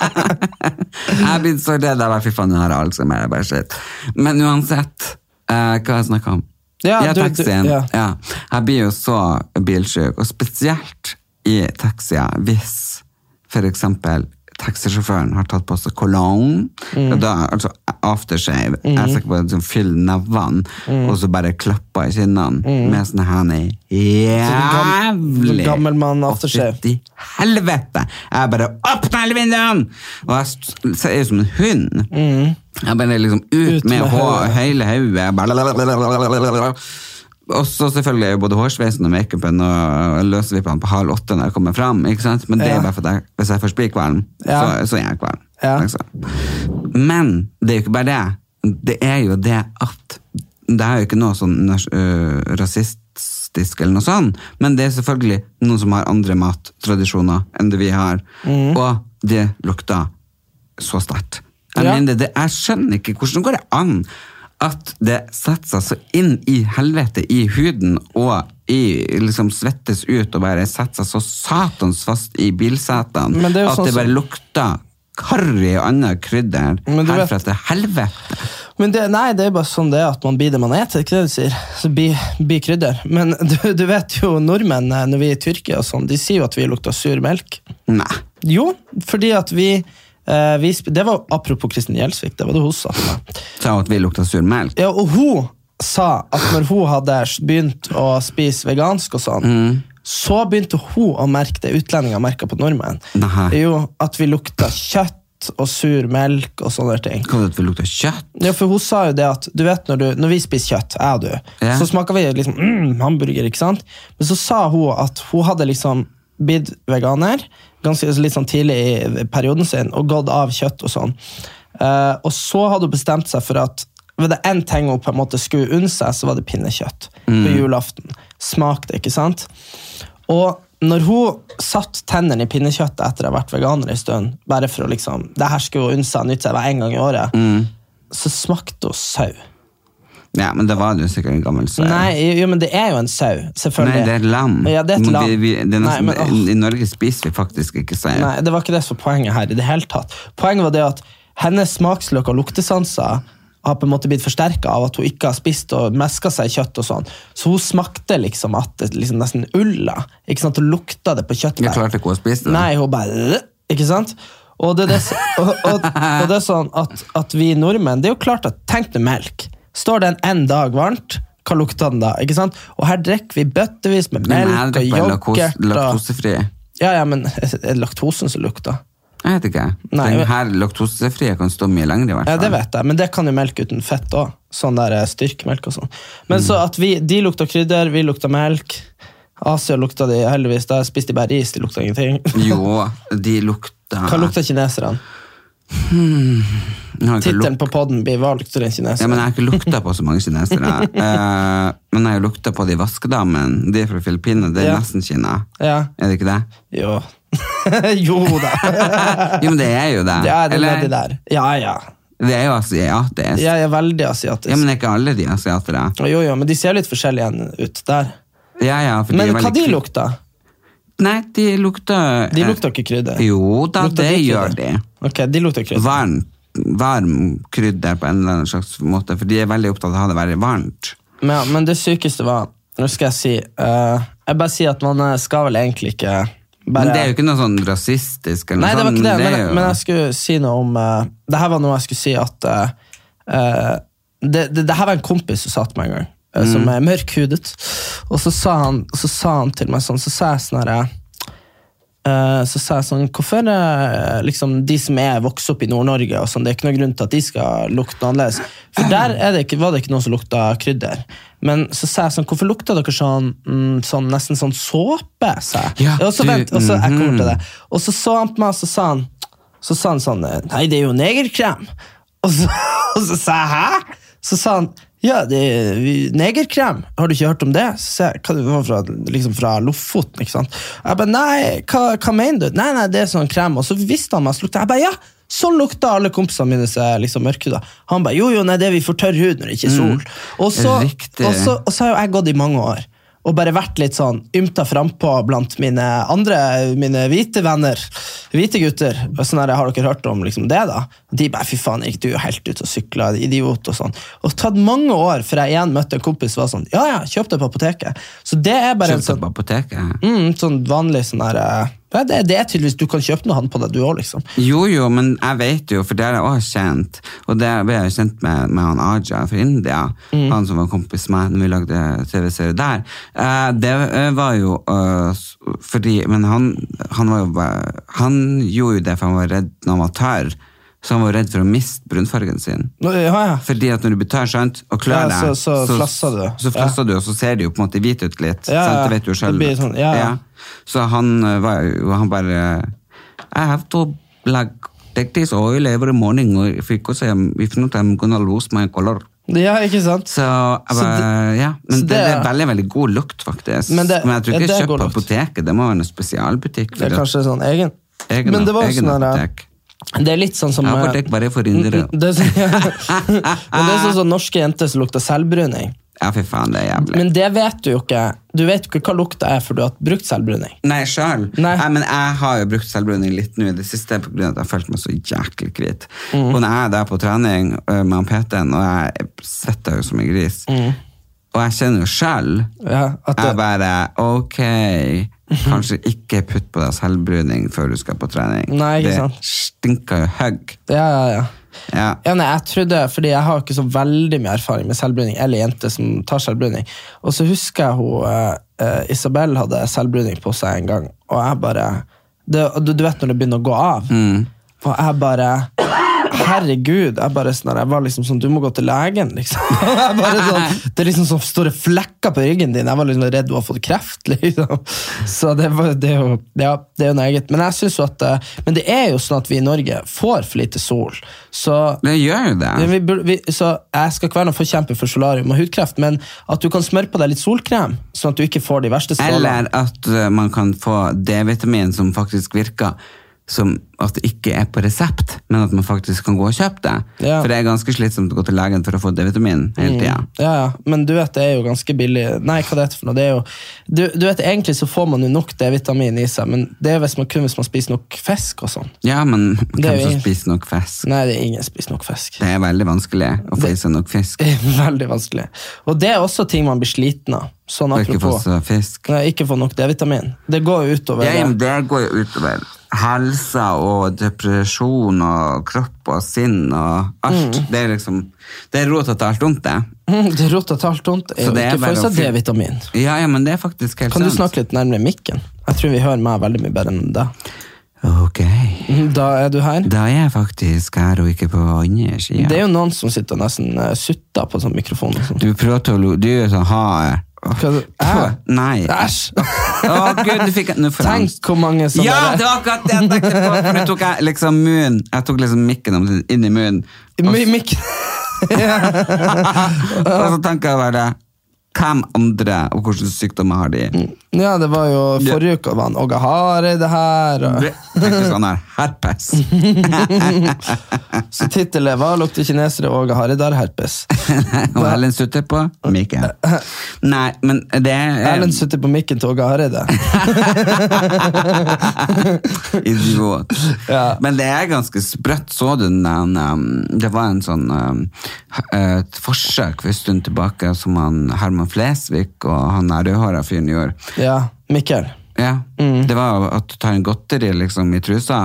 S1: jeg begynte så redd. Jeg bare, fy faen, hun har Alzheimer. Jeg bare, shit. Men uansett, eh, hva har jeg snakket om?
S2: Ja, du- du-
S1: taxien.
S2: ja.
S1: ja. Jeg blir jo så bilsjuk, og spesielt i taxier, hvis for eksempel taxisjåføren har tatt på seg cologne,
S2: Mm.
S1: og da, altså aftershave, jeg er sikker på at hun fyller nevene,
S2: Mm.
S1: og så bare klapper i kinnene med sånne henne
S2: Sånn
S1: jævlig
S2: gam- gammel mann aftershave.
S1: Å, fytti helvete! Jeg bare åpner alle vinduene! Og jeg st- ser ut som en hund. Jeg bare liksom
S2: Ut
S1: ut, med,
S2: med
S1: hår, hele hodet. jeg bare- Og så selvfølgelig er jo både hårsveisen og makeupen og løsvippene på halv åtte når jeg kommer fram. Ikke sant? Men det er
S2: Ja.
S1: bare for at jeg, hvis jeg først blir kvalm,
S2: Ja.
S1: så, så er jeg kvalm.
S2: Ja.
S1: Liksom. Men det er jo ikke bare det. Det er jo det at Det er jo ikke noe sånn nas- øh, rasistisk eller noe sånt, men det er selvfølgelig noen som har andre mattradisjoner enn det vi har.
S2: Mm.
S1: Og det lukter så sterkt. Jeg
S2: Ja.
S1: mener det, jeg skjønner ikke hvordan går det an at det setter seg så inn i helvete i huden og i, liksom svettes ut og bare setter seg så satans fast i bilsetene
S2: Men
S1: at
S2: det er jo sånn
S1: det
S2: som-
S1: bare lukter karri og annet krydder
S2: Men du
S1: herfra
S2: vet-
S1: til helvete.
S2: Men det, nei, det er bare sånn det er at man blir det man eter, ikke det du sier? Så bli, bli krydder. Men du, du vet jo nordmenn eh, når vi er i Tyrkia og sånn, de sier jo at vi lukter sur melk.
S1: Nei.
S2: Jo, fordi at vi, eh, vi sp- Det var apropos Kristin Gjelsvik, det var det hun sa til meg.
S1: Sa hun at vi lukter sur melk?
S2: Ja, og hun sa at når hun hadde begynt å spise vegansk og sånn, så begynte hun å merke det utlendinger merka på nordmenn.
S1: Nei.
S2: Jo, at vi lukta kjøtt og sur melk og sånne ting.
S1: Hva er det at vi lukter kjøtt?
S2: Ja, for hun sa jo det at du vet når, du, når vi spiser kjøtt, jeg og du,
S1: Ja.
S2: så smaker vi liksom mm, hamburger, ikke sant? Men så sa hun at hun hadde liksom blitt veganer ganske altså litt sånn tidlig i perioden sin og gått av kjøtt og sånn. Eh, og så hadde hun bestemt seg for at Var det én ting hun på en måte skulle unne seg, så var det pinnekjøtt på julaften. Smakte, ikke sant? Og når hun satt tennene i pinnekjøttet etter å ha vært veganer en stund, bare for å liksom, det her skulle hun unne seg nytt seg hver en gang i året, så smakte hun sau.
S1: Ja, men da var det jo sikkert en gammel sau.
S2: Nei, jo, men det er jo en sau, selvfølgelig.
S1: Nei, det er et lam.
S2: Ja, det er et
S1: Men
S2: lam.
S1: Vi, vi, det er
S2: Nei,
S1: nesten,
S2: men, åh.
S1: I Norge spiser vi faktisk ikke sau.
S2: Nei, det var ikke det som var poenget her i det hele tatt. Poenget var det at hennes smaksløk og luktesanser har på en måte blitt forsterka av at hun ikke har spist og meska seg i kjøtt. og sånn. Så hun smakte liksom at det liksom nesten ulla. ikke sant? Hun lukta det på kjøttet.
S1: Jeg klarte ikke å spise det.
S2: Nei, hun bare "Øh", Ikke sant? Og det, er det, som- og, og, og det er sånn at, at vi nordmenn Det er jo klart at Tenk deg melk. Står den en dag varmt, hva lukter den da? ikke sant? Og her drikker vi bøttevis med
S1: Men jeg
S2: melk og
S1: drikker lakose,
S2: yoghurt. og-
S1: laktosefri.
S2: Ja, ja, men er det laktosen som lukter?
S1: Jeg vet ikke.
S2: Nei, men-
S1: Den her laktosefrie kan stå mye lenger, i hvert
S2: Ja,
S1: fall.
S2: det vet jeg, men det kan jo melk uten fett òg. Sånn der eh, styrkemelk og sånn.
S1: Mm.
S2: Men så at vi, de lukta krydder, vi lukta melk. Asia lukta de heldigvis, der spiste de bare ris, de lukta ingenting.
S1: Jo, de lukta
S2: Hva lukta kineserne?
S1: Jeg har ikke
S2: Tittelen
S1: luk-
S2: på poden blir 'Hva lukter en kineser?'
S1: Ja, men jeg har ikke lukta på så mange kinesere. Eh, men jeg har jo lukta på de vaskedamene. De er fra Filippinene, det er
S2: Ja.
S1: nesten Kina.
S2: Ja.
S1: Er det ikke det?
S2: Jo. jo da.
S1: Jo, men det er jo det.
S2: Det er det
S1: Eller?
S2: nedi der. Ja, ja.
S1: Det er jo asiatisk.
S2: Jeg er veldig asiatisk.
S1: Ja, men er ikke alle de asiatere?
S2: Jo, jo, men de ser jo litt forskjellige ut der.
S1: Ja, ja, for
S2: Men
S1: er
S2: hva
S1: veldig
S2: de
S1: kry-
S2: lukta?
S1: Nei, de lukter
S2: De lukta ikke krydder.
S1: Eh, Jo da,
S2: Lukta
S1: det
S2: de krydder?
S1: gjør de.
S2: Ok, de lukta krydder.
S1: Varm, varm krydder på en eller annen slags måte, for de er veldig opptatt av å ha det veldig varmt.
S2: Men, men det sykeste var Nå skal jeg si eh, Jeg bare sier at man eh, skal vel egentlig ikke bare
S1: Men det er jo ikke noe sånn rasistisk eller
S2: Nei, det var ikke det,
S1: sånn.
S2: men,
S1: er jo-
S2: men jeg skulle si noe om eh, Det her var noe jeg skulle si at eh, eh, det, det, det her var en kompis som satt meg en gang, eh,
S1: Mm.
S2: som er mørkhudet. Og så sa, han, så sa han til meg sånn, så sa jeg sånn her eh, så sa jeg sånn, hvorfor eh, liksom, de som er vokst opp i Nord-Norge, og sånn, det er ikke noen grunn til at de skal lukte noe annerledes. For der er det ikke, var det ikke noen som lukta krydder. Men så sa jeg sånn, hvorfor lukta dere sånn, mm, sånn nesten sånn såpe? sa jeg.
S1: Ja,
S2: og så
S1: du-
S2: vent, og så, jeg kommer til det. Og så så han på meg, og så sa han, så sa han sånn, nei, det er jo negerkrem. Og så, og så sa jeg, hæ? Så sa han, ja, det er vi- negerkrem. Har du ikke hørt om det? Så sa jeg, hva det var fra, liksom fra Lofoten, ikke sant? Jeg ba, nei, hva, hva mener du? Nei, nei, det er sånn krem. Og så visste han meg, så lukta jeg. Jeg ba, ja, sånn lukta alle kompisene mine som er liksom mørkhuda. Han ba, jo, jo, nei, det er vi for tørr hud når det ikke er sol. Og så,
S1: Riktig.
S2: og så og så har jo jeg gått i mange år og bare vært litt sånn ymta frampå blant mine andre mine hvite venner. Hvite gutter. Og sånn her, har dere hørt om liksom det, da? Og de bare 'fy faen, Erik, du er jo helt ute og sykla, idiot', og sånn. Og tatt mange år før jeg igjen møtte en kompis som var sånn 'ja ja, kjøp det på apoteket'. Så det er bare en
S1: Kjøpte
S2: sånn
S1: på apoteket.
S2: mm, sånn vanlig sånn her eh, ja, det, det er tydeligvis Du kan kjøpe noe han på deg, du òg, liksom.
S1: Jo, jo, men jeg vet jo, for det har jeg også kjent. Og det ble jeg jo kjent med, med han Aja fra India, han som var kompis med meg når vi lagde TV-serie der. Eh, det eh, var jo eh, s- fordi Men han, han var jo bare Han gjorde jo det for han var redd når han var tørr. Så han var redd for å miste brunfargen sin.
S2: Nå, Ja, ja.
S1: Fordi at når du blir tørr sant, og
S2: Ja,
S1: klør deg,
S2: så- så flasser du.
S1: Så flasser du, og så ser du jo på en måte hvit ut litt.
S2: Ja,
S1: sant?
S2: ja.
S1: Det vet du jo
S2: Det
S1: selv.
S2: blir sånn, ja, ja.
S1: Så han eh, var jo Han bare I have to like, take this oil every morning or if, because I'm, if not I'm gonna lose my color.
S2: ja ikke sant?
S1: Så, jeg
S2: Så
S1: bare, ja, men
S2: så
S1: det,
S2: det-
S1: er veldig veldig god lukt, faktisk.
S2: Men det-
S1: jeg tror
S2: ja,
S1: ikke
S2: det er
S1: jeg kjøper
S2: god
S1: på
S2: lukt.
S1: apoteket. Det må være en spesialbutikk.
S2: Det er
S1: at-
S2: kanskje sånn egen.
S1: egen,
S2: Men det var jo
S1: egen
S2: sånn her, eh,
S1: apotek.
S2: Det er litt sånn som
S1: Ja,
S2: eh,
S1: apotek bare for indere.
S2: Mm, Det er sånn, Men det er sånn som norske jenter som lukter selvbruning.
S1: Ja, fy faen, det er jævlig.
S2: Men det vet du jo ikke. Du vet jo ikke hva lukta er, for du har brukt selvbruning.
S1: Nei, sjøl.
S2: Nei.
S1: Nei, men jeg har jo brukt selvbruning litt nå i det siste pga. at jeg har følt meg så jæklig hvit.
S2: Mm.
S1: Og når jeg er der på trening øh, med han PT-en, og jeg svetter jo som en gris, og jeg kjenner jo sjøl
S2: Ja, Mm. at det- Mhm.
S1: Jeg bare Ok, kanskje ikke putt på deg selvbruning før du skal på trening.
S2: Nei, ikke sant.
S1: Det stinker jo hugg.
S2: Ja, ja, ja.
S1: Ja.
S2: Ja, nei, jeg trodde, fordi jeg har ikke så veldig mye erfaring med selvbruning, eller jenter som tar selvbruning. Og så husker jeg hun, eh, eh, Isabel hadde selvbruning på seg en gang, og jeg bare det, og du, du vet når det begynner å gå av, og jeg bare Herregud. Jeg bare sånn der, jeg var liksom sånn Du må gå til legen, liksom. Jeg bare sånn, det er liksom sånn store flekker på ryggen din. Jeg var liksom redd du har fått kreft, liksom. Så det, var, det er jo ja, det er jo noe eget. Men jeg synes jo at eh, Men det er jo sånn at vi i Norge får for lite sol. Så
S1: Det gjør jo det.
S2: men vi burde, vi, så jeg skal ikke være noen forkjemper for solarium og hudkreft, men at du kan smøre på deg litt solkrem, sånn at du ikke får de verste strålene.
S1: Eller at eh, man kan få D-vitamin som faktisk virker, som at det ikke er på resept, men at man faktisk kan gå og kjøpe det.
S2: Ja. Mm.
S1: For det er ganske slitsomt å gå til legen for å få D-vitamin hele tida.
S2: Ja, ja, men du vet det er jo ganske billig Nei, hva det heter for noe? Det er jo, du, du vet, Egentlig så får man jo nok D-vitamin i seg, men det er hvis man, kun hvis man spiser nok fisk og sånn.
S1: Ja, men
S2: er
S1: hvem
S2: jo
S1: som
S2: ingen-
S1: spiser nok fisk?
S2: Nei, det er ingen som spiser nok fisk.
S1: Det er veldig vanskelig å få i seg nok fisk.
S2: Veldig vanskelig. Og det er også ting man blir sliten av. Sånn
S1: Og ikke få
S2: apropos
S1: seg fisk.
S2: Nei, ikke få nok D-vitamin. Det går jo utover
S1: Ja, men det går jo utover helsa og depresjon og kropp og sinn og alt. Det er liksom Det er rota til alt vondt, det.
S2: Mm, Det roter til alt vondt. er
S1: Så
S2: jo
S1: det er
S2: Ikke
S1: bare
S2: få i
S1: å
S2: seg
S1: fylle-
S2: D-vitamin.
S1: Ja, ja, men det er faktisk helt
S2: Kan du
S1: sant.
S2: snakke litt nærmere mikken? Jeg tror vi hører meg veldig mye bedre enn deg. Mhm,
S1: Ok.
S2: Da er du her.
S1: Da er jeg faktisk her og ikke på andre sida.
S2: Det er jo noen som sitter og nesten eh, sutter på sånn mikrofon. og sånn.
S1: Du prater jo Du er jo sånn har
S2: Hva- Hæ?
S1: Nei.
S2: Æsj!
S1: Å, gud, du fikk Nå får
S2: Tenk
S1: jeg
S2: sånn
S1: angst.
S2: hvor mange som
S1: Ja, det
S2: bare
S1: var akkurat det jeg tenkte på! For nå tok jeg liksom munnen Jeg tok liksom mikken om- inn i munnen, og,
S2: Mi- Mikk
S1: og så tenker jeg bare Hvem andre, og hvilke sykdommer har de?
S2: Ja, det var jo forrige uke, var han Åge Hareide her, og
S1: Jeg Tenkte sånn her Herpes.
S2: så tittelen var 'Lukter kinesere Åge Hareide har herpes'.
S1: Og Ellen sutter på mikken. Nei, men det er
S2: Erlend sitter på mikken til Åge Hareide.
S1: Idiot.
S2: Ja.
S1: Men det er ganske sprøtt. Så du den der, um, Det var en sånn um, et forsøk for en stund tilbake som han Herman Flesvig og han der rødhåra fyren gjorde.
S2: Ja, Mikkel.
S1: Ja. Det var at du tar en godteri liksom i trusa,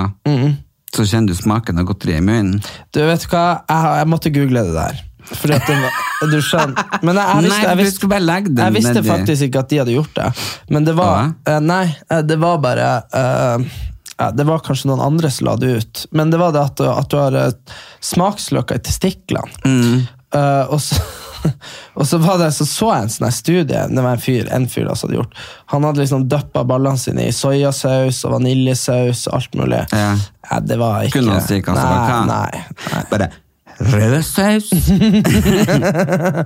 S1: så kjenner du smaken av godteri i munnen.
S2: Du vet du hva, jeg, har- jeg måtte google det der. Fordi at det var, du skjønner Men jeg, jeg, visste,
S1: Nei,
S2: jeg,
S1: du
S2: visste,
S1: skulle bare legge den
S2: jeg visste
S1: nedi.
S2: faktisk ikke at de hadde gjort det. Men det var eh, Nei, eh, det var bare eh, ja, Det var kanskje noen andre som la det ut. Men det var det at, du- at du har eh, smaksløker i testiklene.
S1: Mm.
S2: Eh, og så og så var det, så så jeg en sånn her studie det var en fyr, en fyr altså hadde gjort. Han hadde liksom dyppa ballene sine i soyasaus og vaniljesaus og alt mulig.
S1: Ja.
S2: Nei, det var ikke
S1: Kunne han si hva som var hva?
S2: Nei, nei, nei.
S1: Bare rødsaus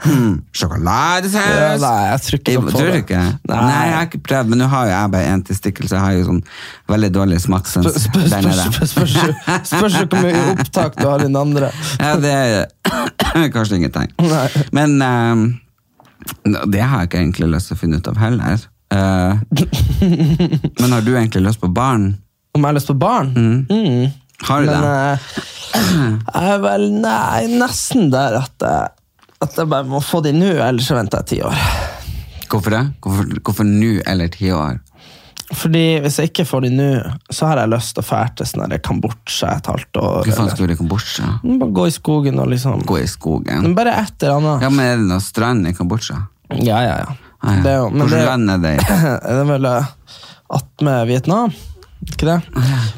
S1: Hmm,
S2: Ja,
S1: Sjokoladesaus
S2: nei, jeg tror ikke
S1: Jeg-
S2: sånn på
S1: tror du
S2: det.
S1: ikke?
S2: Nei.
S1: Nei. jeg har ikke prøvd Men nå har jo jeg bare en testikkel Så jeg har jo sånn veldig dårlig smakssens
S2: Spør- spør-
S1: der nede.
S2: spør- spør- spør- Spørs jo hvor mye opptak du har i den andre.
S1: Ja, det er kanskje ingenting.
S2: Nei.
S1: Men eh, det har jeg ikke egentlig lyst til å finne ut av heller. Eh, men har du egentlig lyst på barn?
S2: Om jeg har lyst på barn? Mm.
S1: Har du
S2: Men
S1: det?
S2: eh, jeg er vel nei, nesten der at jeg, at jeg bare må få de nå, ellers så venter jeg ti år.
S1: Hvorfor det? Hvorfor, hvorfor nå eller ti år?
S2: Fordi hvis jeg ikke får de nå, så har jeg lyst til å fære til sånn der Kambodsja et halvt år.
S1: Hva faen
S2: Eller,
S1: skulle du ikke bort seg?
S2: bare gå i skogen og liksom
S1: Gå i skogen?
S2: Men Bare et eller annet.
S1: Ja, men er det noe strand i Kambodsja?
S2: Ja, ja, ja.
S1: Ah, ja.
S2: Det er jo- men
S1: Hvordan
S2: det-
S1: land er det? i?
S2: det er vel attmed Vietnam. Ikke det?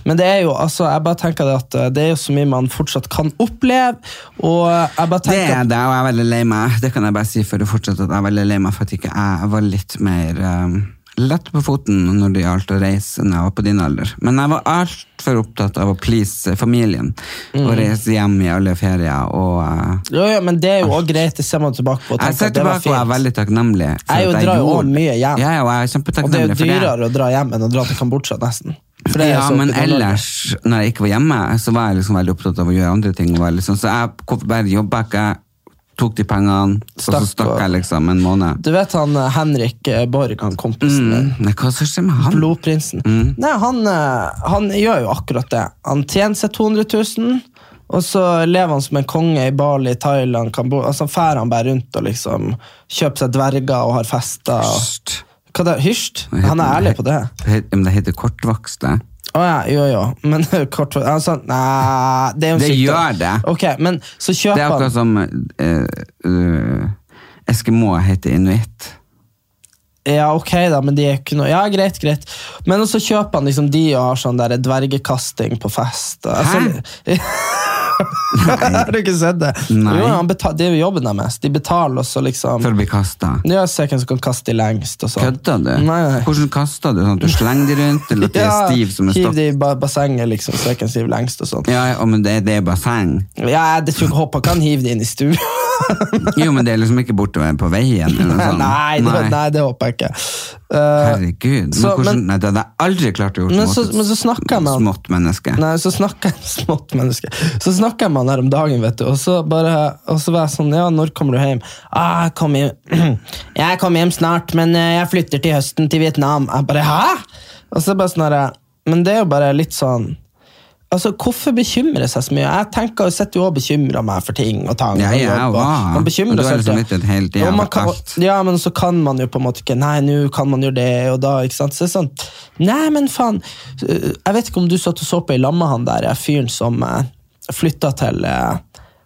S2: Men det er jo, altså, jeg bare tenker det at eh, det er jo så mye man fortsatt kan oppleve. Og jeg bare
S1: Det
S2: tenker
S1: er det, og jeg er veldig lei meg. Det kan jeg bare si før du fortsetter, at jeg er veldig lei meg for at ikke jeg var litt mer eh, lett på foten når det gjaldt å reise enn jeg var på din alder. Men jeg var altfor opptatt av å please familien
S2: Mm.
S1: og reise hjem i alle ferier. Og eh,
S2: jo, jo, Men det er jo også greit, det ser man tilbake på. Og
S1: jeg
S2: tenker
S1: ser
S2: at det var
S1: tilbake og jeg er
S2: fint.
S1: veldig takknemlig. for
S2: Jeg jo
S1: at
S2: drar jo
S1: gjorde-
S2: også mye hjem.
S1: Ja, ja, og
S2: Og det
S1: jeg er
S2: er jo
S1: kjempetakknemlig for det.
S2: dyrere å dra hjem enn å dra til Kambodsja, nesten. For det er
S1: ja,
S2: så
S1: men
S2: oppe i Nord-Norge.
S1: ellers, når jeg ikke var hjemme, så var jeg liksom veldig opptatt av å gjøre andre ting. og var Liksom. Så jeg kom- bare jobba ikke, tok de pengene, og så
S2: Stakk
S1: stakk
S2: på.
S1: jeg liksom en måned.
S2: Du vet han eh, Henrik eh, Borg, han kompisen min?
S1: Mm, nei, hva som skjer med han? Mm.
S2: Blodprinsen. Nei, han, eh, han gjør jo akkurat det. Han tjener seg 200 000, og så lever han som en konge i Bali, Thailand, Kambodsja. Altså, fær han bare rundt og liksom kjøper seg dverger og har fester. Og...
S1: Pst.
S2: Hva det? Hysj? Han er ærlig på det.
S1: Det heter- Men det heter kortvokst, det.
S2: Å ja, jo jo, men kort altså, Nei, det er jo en
S1: Det
S2: sykdom.
S1: gjør det.
S2: Ok, men så
S1: Det
S2: kjøper
S1: er akkurat
S2: han
S1: som eh, eh, Eskimo heter inuitt.
S2: Ja, ok da, men de er ikke noe Ja, greit, greit. Men så kjøper han liksom de og har sånn der dvergekasting på fest. Altså, Har du ikke sett det?
S1: Nei.
S2: Jo, han beta- det er jo jobben deres. De betaler oss og liksom
S1: Før vi kasta.
S2: Ja, se hvem som kan kaste de lengst og sånn.
S1: Kødder du?
S2: Nei, nei.
S1: Hvordan kasta du? Sånn at du slenger de rundt, eller at de er stiv som en
S2: hiv
S1: stokk?
S2: de i ba- bassenget, liksom, så jeg kan hive lengst og sånn.
S1: Ja, ja, men det, det er basseng.
S2: Ja, det tror jeg håper kan hive det inn i stua.
S1: Jo, men det er liksom ikke bortover på veien. Eller noe sånt.
S2: nei, det, nei, det håper jeg ikke. Eh,
S1: Herregud. Men
S2: Så,
S1: hvordan,
S2: men-
S1: nei, det hadde jeg aldri klart å gjøre
S2: Men
S1: mot
S2: så-
S1: et
S2: men så snakker jeg med han.
S1: smått menneske.
S2: Nei, så snakker jeg smått menneske. Så snakker jeg med han her om dagen, vet du, og så, bare, og så var jeg sånn, ja, når kommer du hjem? Ah, jeg kommer hjem. jeg kommer hjem snart, men eh, jeg flytter til høsten til Vietnam. Jeg bare, hæ? Og så bare sånn her, men det er jo bare litt sånn, altså, hvorfor bekymre seg så mye? Jeg tenker, jeg sitter jo og bekymrer meg for ting og tang.
S1: Ja,
S2: og
S1: jeg
S2: jobb, og-
S1: var.
S2: Man bekymrer
S1: Men du har
S2: seg
S1: liksom
S2: alltid.
S1: litt et helt
S2: Og man
S1: jævla
S2: kan-
S1: kast.
S2: ja, men så kan man jo på en måte ikke Nei, nå kan man gjøre det, og da ikke sant? Så det er sånn, Nei, men faen. øh, Jeg vet ikke om du satt og så på i lammet han der, jeg fyren som eh, flytta til eh,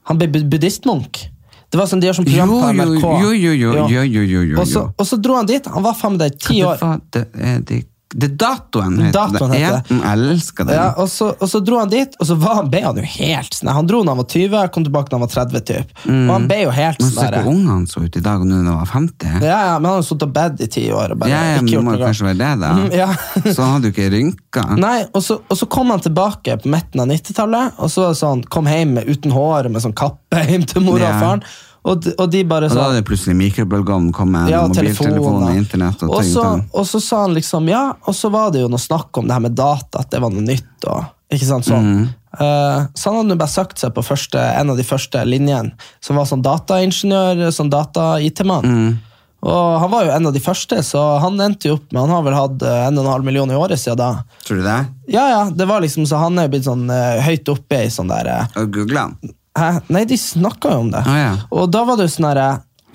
S2: Han ble bud- buddhistmunk. Det var sånn, De har sånn
S1: Jo,
S2: program på
S1: jo,
S2: NRK.
S1: jo, jo, jo,
S2: Ja.
S1: jo, jo, jo, jo.
S2: Og så, og så dro han dit. Han var faen meg der i ti
S1: Det
S2: år.
S1: var- Det er de- det er datoen, heter
S2: Datoen
S1: det.
S2: heter det.
S1: Ja, jeg elsker den.
S2: Ja, og, så, og så dro han dit, og så var han, ble han jo helt sånn Han dro når han var 20, kom tilbake når han var 30. Typ. Og han ble jo helt
S1: Mm. Men
S2: sånn
S1: se
S2: der-
S1: hvor ung han så ut i dag, og nå når han var 50.
S2: Ja, ja, men han har sittet i bed i ti år og bare
S1: Ja, ja,
S2: ikke
S1: men det
S2: gjort
S1: må jo
S2: noe.
S1: kanskje være det, da.
S2: Mm, ja.
S1: så han hadde jo ikke rynka.
S2: Nei, og så, og så kom han tilbake på midten av 90-tallet, og så var det sånn, kom hjem med, uten hår, med sånn kappe hjem til mor og
S1: Ja.
S2: faren, og, de- og de bare
S1: Og da
S2: sånn
S1: hadde plutselig mikrobølgeovnen kommet,
S2: ja,
S1: ja,
S2: og
S1: mobiltelefon og
S2: telefoner.
S1: internett. Og,
S2: Og
S1: ting
S2: så,
S1: og tang.
S2: og så sa han liksom ja, og så var det jo noe snakk om det her med data, at det var noe nytt. Og, ikke sant, sånn.
S1: Mm.
S2: Eh, så han hadde jo bare sagt seg på første, en av de første linjene, som var sånn dataingeniør, sånn data-IT-mann.
S1: Mm.
S2: Og han var jo en av de første, så han endte jo opp med Han har vel hatt eh, en og en halv million i året siden da.
S1: Tror du det?
S2: Ja, ja, det var liksom, så han er jo blitt sånn eh, høyt oppe i sånn der eh,
S1: Og googla han?
S2: Hæ? Nei, de snakka jo om det.
S1: Ah, ja.
S2: Og da var det jo sånn herre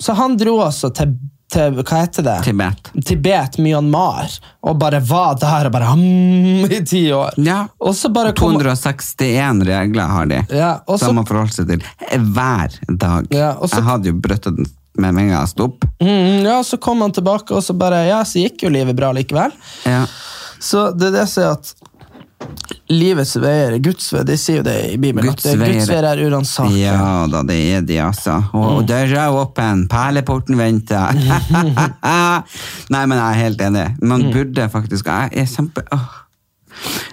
S2: Så han dro altså til, til Hva heter det?
S1: Tibet.
S2: Tibet, Myanmar, og bare var der og bare hmm, i ti år.
S1: Ja.
S2: Og så bare kom
S1: 261 regler har de,
S2: Ja, og så-
S1: som man forholder seg til hver dag.
S2: Ja, og så-
S1: Jeg hadde jo brøtta den med en gang jeg sto opp.
S2: mm, Ja, så kom han tilbake, og så bare Ja, så gikk jo livet bra likevel.
S1: Ja.
S2: Så det er det jeg sier at Livets veier, Guds veier, de sier jo det i Bibelen. at
S1: Guds
S2: det er Guds
S1: veier-
S2: veier er Mm. uransakelige.
S1: Ja da, det er de, altså. Og, og døra er åpen, perleporten venter. Nei, men jeg er helt enig. Man
S2: Mm.
S1: burde faktisk Jeg er kjempe... Åh.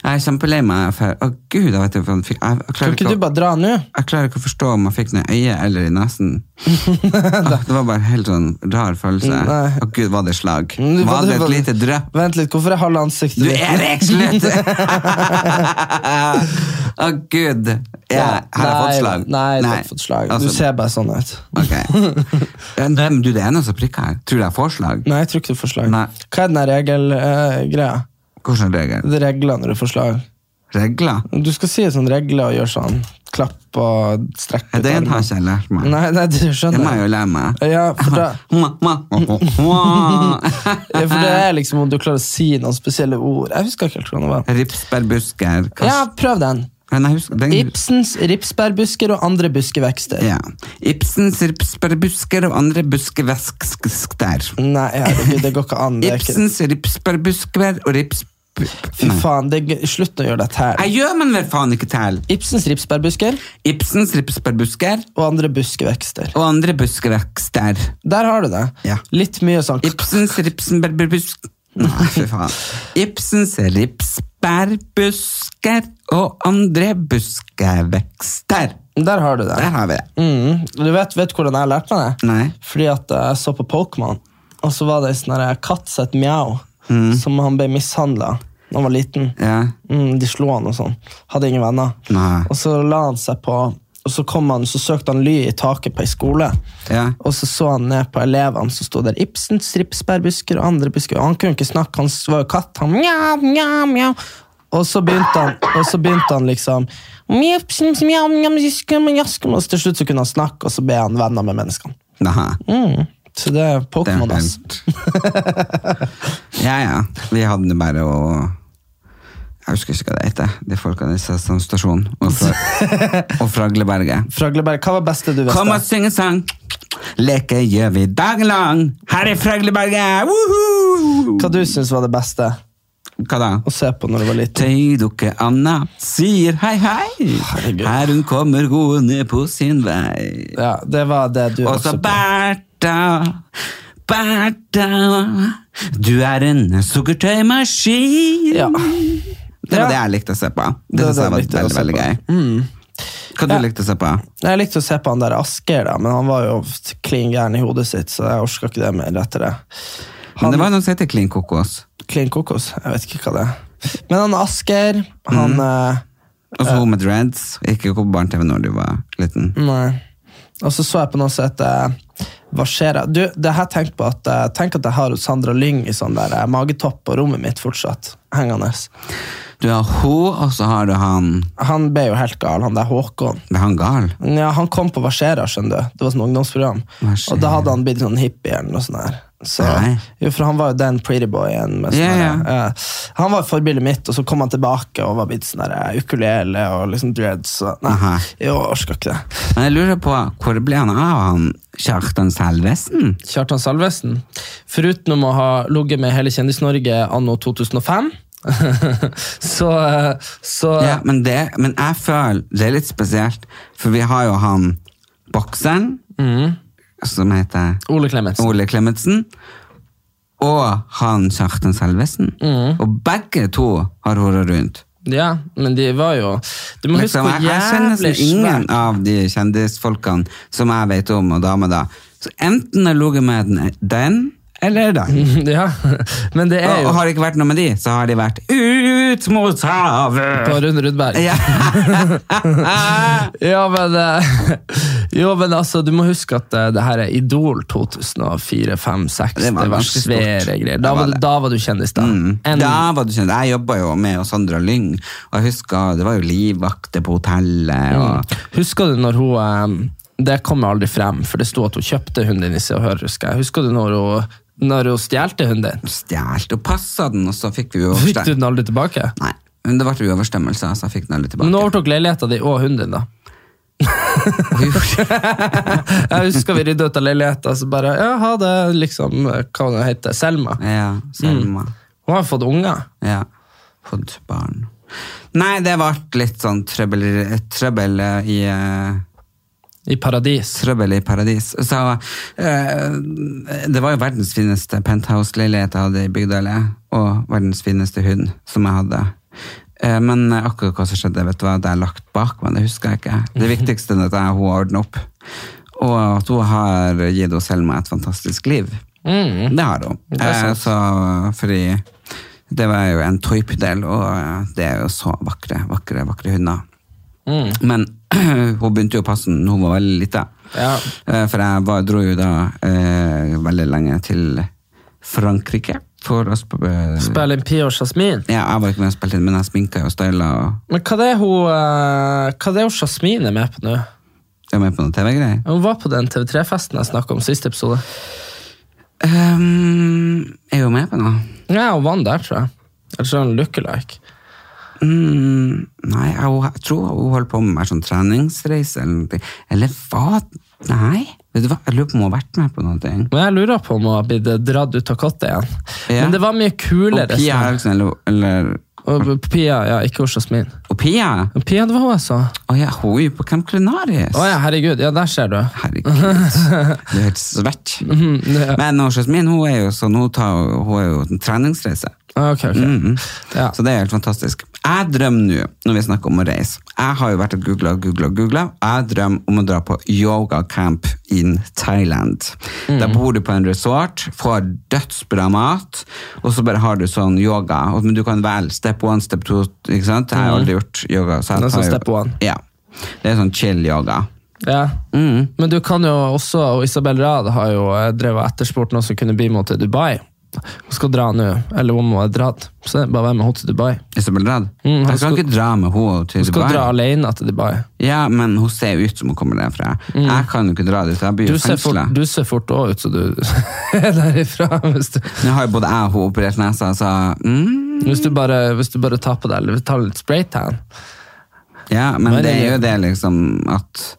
S1: Jeg er kjempelei meg for Å, gud, jeg vet ikke hva jeg fikk jeg, jeg klarer
S2: Kan ikke
S1: å-
S2: du bare dra nå?
S1: jeg klarer ikke å forstå om jeg fikk den i øyet eller i nesen. Ah, det var bare helt sånn rar følelse.
S2: Nei.
S1: Å gud, var det slag?
S2: Mm, hva-
S1: Var det et
S2: hva-
S1: lite drøpp?
S2: Vent litt, hvorfor er halve ansiktet
S1: Du
S2: ditt-
S1: Erik, slutt! Å gud. Jeg, her har jeg fått
S2: Nei,
S1: slag.
S2: Nei, du har ikke fått slag.
S1: Altså,
S2: du ser bare sånn ut.
S1: ok. Ja, Nei, men du, det er noen som prikker her. Tror du jeg får slag?
S2: Nei, jeg tror ikke du får slag.
S1: Nei.
S2: Hva er den der regelgreia?
S1: Hvordan regel?
S2: det er regler når du får slag.
S1: Regler?
S2: Du skal si sånn regler og gjøre sånn klapp og strekke
S1: Ja,
S2: ut
S1: Den har
S2: armen.
S1: ikke jeg lært meg.
S2: Nei, nei, du
S1: Det må jeg
S2: skjønner.
S1: jo lære meg.
S2: Ja, for da- Ja, for det er liksom om du klarer å si noen spesielle ord. Jeg husker ikke helt hvordan det var.
S1: Ripsbærbusker. kast-
S2: Ja, prøv den.
S1: Men jeg husker, den,
S2: Ibsens ripsbærbusker og andre buskevekster.
S1: Mm. Ja. Ibsens ripsbærbusker og andre buskeveskster.
S2: Nei, herregud, det går ikke an. Mm, Det er ikke...
S1: Ibsens ripsbærbusker og rips...
S2: Fy
S1: Nei.
S2: faen, det er... gøy. slutt å gjøre det
S1: Jeg
S2: her.
S1: gjør man vel faen ikke til!
S2: Ibsens ripsbærbusker
S1: Ibsens ripsbærbusker
S2: og andre buskevekster.
S1: og andre buskevekster.
S2: Der har du det.
S1: Ja.
S2: Litt mye sånn
S1: Ibsens ripsbærbusk... Nei, fy faen. Ibsens ripsbærbusker og andre buskevekster.
S2: Der har du det.
S1: Der har vi det.
S2: Mm. Du vet, vet hvordan jeg lærte meg det?
S1: Nei.
S2: Fordi at eh, jeg så på Pokémon, og så var det en sånn her katt som het Mjau, som han ble mishandla da han var liten.
S1: Ja.
S2: Mm, de slo han og sånn. Hadde ingen venner.
S1: Nei.
S2: Og så la han seg på og så, kom han, så søkte han ly i taket på ei skole.
S1: Ja.
S2: Og så så han ned på elevene som sto der. Ibsen, stripsbærbusker og andre busker. Og han kunne ikke snakke, han var jo katt. Han mjau, mjau, mjau. Og så begynte han, og så begynte han liksom Ibsen, mjau, mjau, jiskum, jaskum. Og så til slutt så kunne han snakke, og så ble han venner med menneskene.
S1: Nei.
S2: Så det er
S1: Det er
S2: Pokémon, ass.
S1: helt- ja, ja. Vi hadde det bare å Jeg husker ikke hva det heter, de folkene i Sesam stasjon og, fra, og Fragleberget.
S2: Fragleberg, hva var beste du
S1: Kom og
S2: visste?
S1: syng en sang! Leke gjør vi dagen lang her i Fragleberget! Woohoo!
S2: Hva du syns var det beste?
S1: Hva da?
S2: å se på når du var liten.
S1: Tøydukke Anna sier hei, hei.
S2: Herregud.
S1: Her hun kommer gående på sin vei.
S2: Ja, det var det du
S1: Og
S2: også
S1: så
S2: på.
S1: Bertha, Bertha, du er en sukkertøymaskin.
S2: Ja.
S1: Det var
S2: Ja.
S1: det jeg likte å se på. Det,
S2: Det
S1: synes
S2: var
S1: jeg
S2: det
S1: var
S2: jeg likte å
S1: veldig,
S2: se
S1: veldig gøy. Hva du likte å se på?
S2: Mm. Jeg likte å se på han der Asker, da, men han var jo t- klin gæren i hodet sitt, så jeg orka ikke det mer etter det.
S1: Men
S2: Han
S1: det var noe som heter Klin kokos.
S2: klin kokos, jeg vet ikke hva det er. Men han Asker,
S1: Mm.
S2: han eh,
S1: Og så Altså, hun med dreads. Ikke på barne-TV når du var liten.
S2: Nei. Og så så jeg på noe som heter eh, Hva skjer? da? Du, det her tenk på at eh, Tenk at jeg har Sandra Lyng i sånn der eh, magetopp på rommet mitt fortsatt. Hengende.
S1: Du har hun, og så har du han
S2: Han ble jo helt gal, han der Håkon.
S1: Ble han gal?
S2: Ja, Han kom på Hva skjer da, skjønner du. Det var sånn ungdomsprogram.
S1: Hva skjer?
S2: Og da hadde han blitt sånn hippie eller noe sånt. Der. Så,
S1: Nei.
S2: jo, for han var jo den prettyboyen. med sånn
S1: Ja,
S2: der, eh, han var forbildet mitt, og så kom han tilbake og var blitt sånn der, eh, ukulele og liksom dreads. og- Nei,
S1: Aha.
S2: jeg orka ikke det.
S1: Men jeg lurer på, hvor ble han av han Kjartan Salvesen?
S3: Kjartan Salvesen. Foruten om å ha ligget med hele Kjendis-Norge anno 2005, så, eh, så
S1: Ja, men, det, men jeg føler det er litt spesielt, for vi har jo han bokseren,
S3: Mm.
S1: som heter
S3: Ole Klemetsen.
S1: Ole Klemetsen, og han Kjartan Salvesen.
S3: Mm.
S1: Og begge to har vært rundt.
S3: Ja, men de var jo Du må huske
S1: Liksom, jeg,
S3: hvor
S1: jeg kjenner
S3: jævlig
S1: nesten ingen
S3: svært
S1: av de kjendisfolkene som jeg vet om, og damer da. Så enten har jeg ligget med den, den eller den.
S3: Ja, men det er
S1: Og,
S3: jo
S1: og har det ikke vært noe med de, så har de vært ut mot havet!
S3: på Rune Rudberg.
S1: Ja.
S3: Ja, men, eh, jo, men altså, du må huske at eh, det her er Idol 2004, 5, 6.
S1: Det
S3: Det
S1: var
S3: var,
S1: ganske stort.
S3: svære greier.
S1: Det
S3: Da
S1: var
S3: var, du-
S1: det. Mm.
S3: da var du kjendis, da. En-
S1: Da var du kjent. Jeg jobba jo med Sandra Lyng, og jeg husker det var jo livvakter på hotellet. Og,
S3: Husker du når hun eh, Det kommer aldri frem, for det sto at hun kjøpte hunden din i Se og Hør. Husker jeg. Husker du når hun, når hun stjelte hunden din?
S1: Stjålet og passa den, og så fikk vi
S3: Mm. Fikk du
S1: uoverstemmelse.
S3: den aldri tilbake?
S1: Nei, men det ble uoverstemmelse, så jeg fikk den aldri tilbake.
S3: Men hun overtok leiligheten din og hunden din, da. Jeg husker vi rydda ut av leiligheten, så bare Ja, ha det, liksom. eh, Hva hun heter Selma.
S1: ja, Selma.
S3: Hun har fått unger.
S1: Ja. Fått barn. Nei, det ble litt sånn trøbbel, trøbbel i eh,
S3: I paradis.
S1: trøbbel i paradis. Så eh, det var jo verdens fineste penthouse-leilighet jeg hadde i Bygdøyla, og verdens fineste hund som jeg hadde. Eh, men akkurat hva som skjedde, vet du hva, det er lagt bak meg, det husker jeg ikke. Det viktigste er at jeg, hun har ordnet opp, og at hun har gitt oss Selma et fantastisk liv. Det har hun. Eh, så fordi det var jo en toypudel, og eh, det er jo så vakre, vakre, vakre hunder. Men hun begynte jo å passe den da hun var veldig lita.
S3: Ja.
S1: Eh, For jeg var, dro jo da eh, veldig lenge til Frankrike for å sp
S3: Spiller inn Pia og Jasmin.
S1: Ja, jeg var ikke med og spilte inn, men jeg sminka og styla og
S3: Men hva det er hun, eh, hva det er hun Jasmin er med på nå?
S1: var med på noen TV-greier.
S3: Hun var på den TV3-festen jeg snakka om siste episode.
S1: Um, er hun med på noe?
S3: Ja, hun vant der, tror jeg. Eller så er hun lookalike.
S1: Mm, nei, jeg, jeg tror hun holdt på med mer sånn treningsreise eller noe. Eller hva? Nei, vet du hva? Jeg lurer på om hun har vært med på noe.
S3: Men jeg lurer på om hun har blitt eh, dratt ut av kottet igjen.
S1: Ja.
S3: Men det var mye
S1: Og
S3: kulere.
S1: Pia
S3: sånn.
S1: Eriksen, eller, eller
S3: Og Pia, ja, ikke hun Jasmin.
S1: Og Pia!
S3: Men Pia, det var hun jeg sa.
S1: Å ja, hun er jo på Camp Culinaris.
S3: Å ja, herregud. Ja, der ser du.
S1: Herregud, du er helt svett. Men hun Jasmin hun er jo sånn, hun, tar, hun er jo en treningsreise.
S3: Ah, Ok, ok.
S1: Mhm.
S3: Ja.
S1: Så det er helt fantastisk. Jeg drømmer nå, når vi snakker om å reise. Jeg har jo vært og googla og googla. og googlet. Jeg drømmer om å dra på yogacamp in Thailand.
S3: Mm-hmm.
S1: Da bor du på en resort, får dødsbra mat, og så bare har du sånn yoga. Og- Men du kan velge step one, step two. ikke sant? Jeg har aldri gjort yoga. Så jeg
S3: Mm-hmm. Det er sånn
S1: tar jo-
S3: step one.
S1: Ja. Det er sånn chill yoga.
S3: Ja.
S1: Mm.
S3: Men du kan jo også, og Isabel Rad har jo eh, drevet og etterspurt noen som kunne bli med henne til Dubai. Hun skal dra nå, eller om hun er dratt. Så det er bare å være med henne til Dubai.
S1: Isabel Rad?
S3: Mm,
S1: jeg
S3: han
S1: kan
S3: skal-
S1: ikke dra med henne til
S3: Hun skal
S1: Dubai.
S3: dra alene til Dubai.
S1: Ja, men hun ser jo ut som hun kommer derfra. Jeg kan jo ikke dra dit, jeg blir
S3: Mm. Du
S1: jo
S3: ser, fort,
S1: fengsla.
S3: du ser fort også ut som du er derifra. Hvis du,
S1: Nå har jo både jeg og hun operert nesa, så mm,
S3: hvis, du bare, hvis du bare tar på deg eller tar litt spraytan.
S1: Ja, men
S3: Nei,
S1: det
S3: nei,
S1: er
S3: nei.
S1: jo det liksom at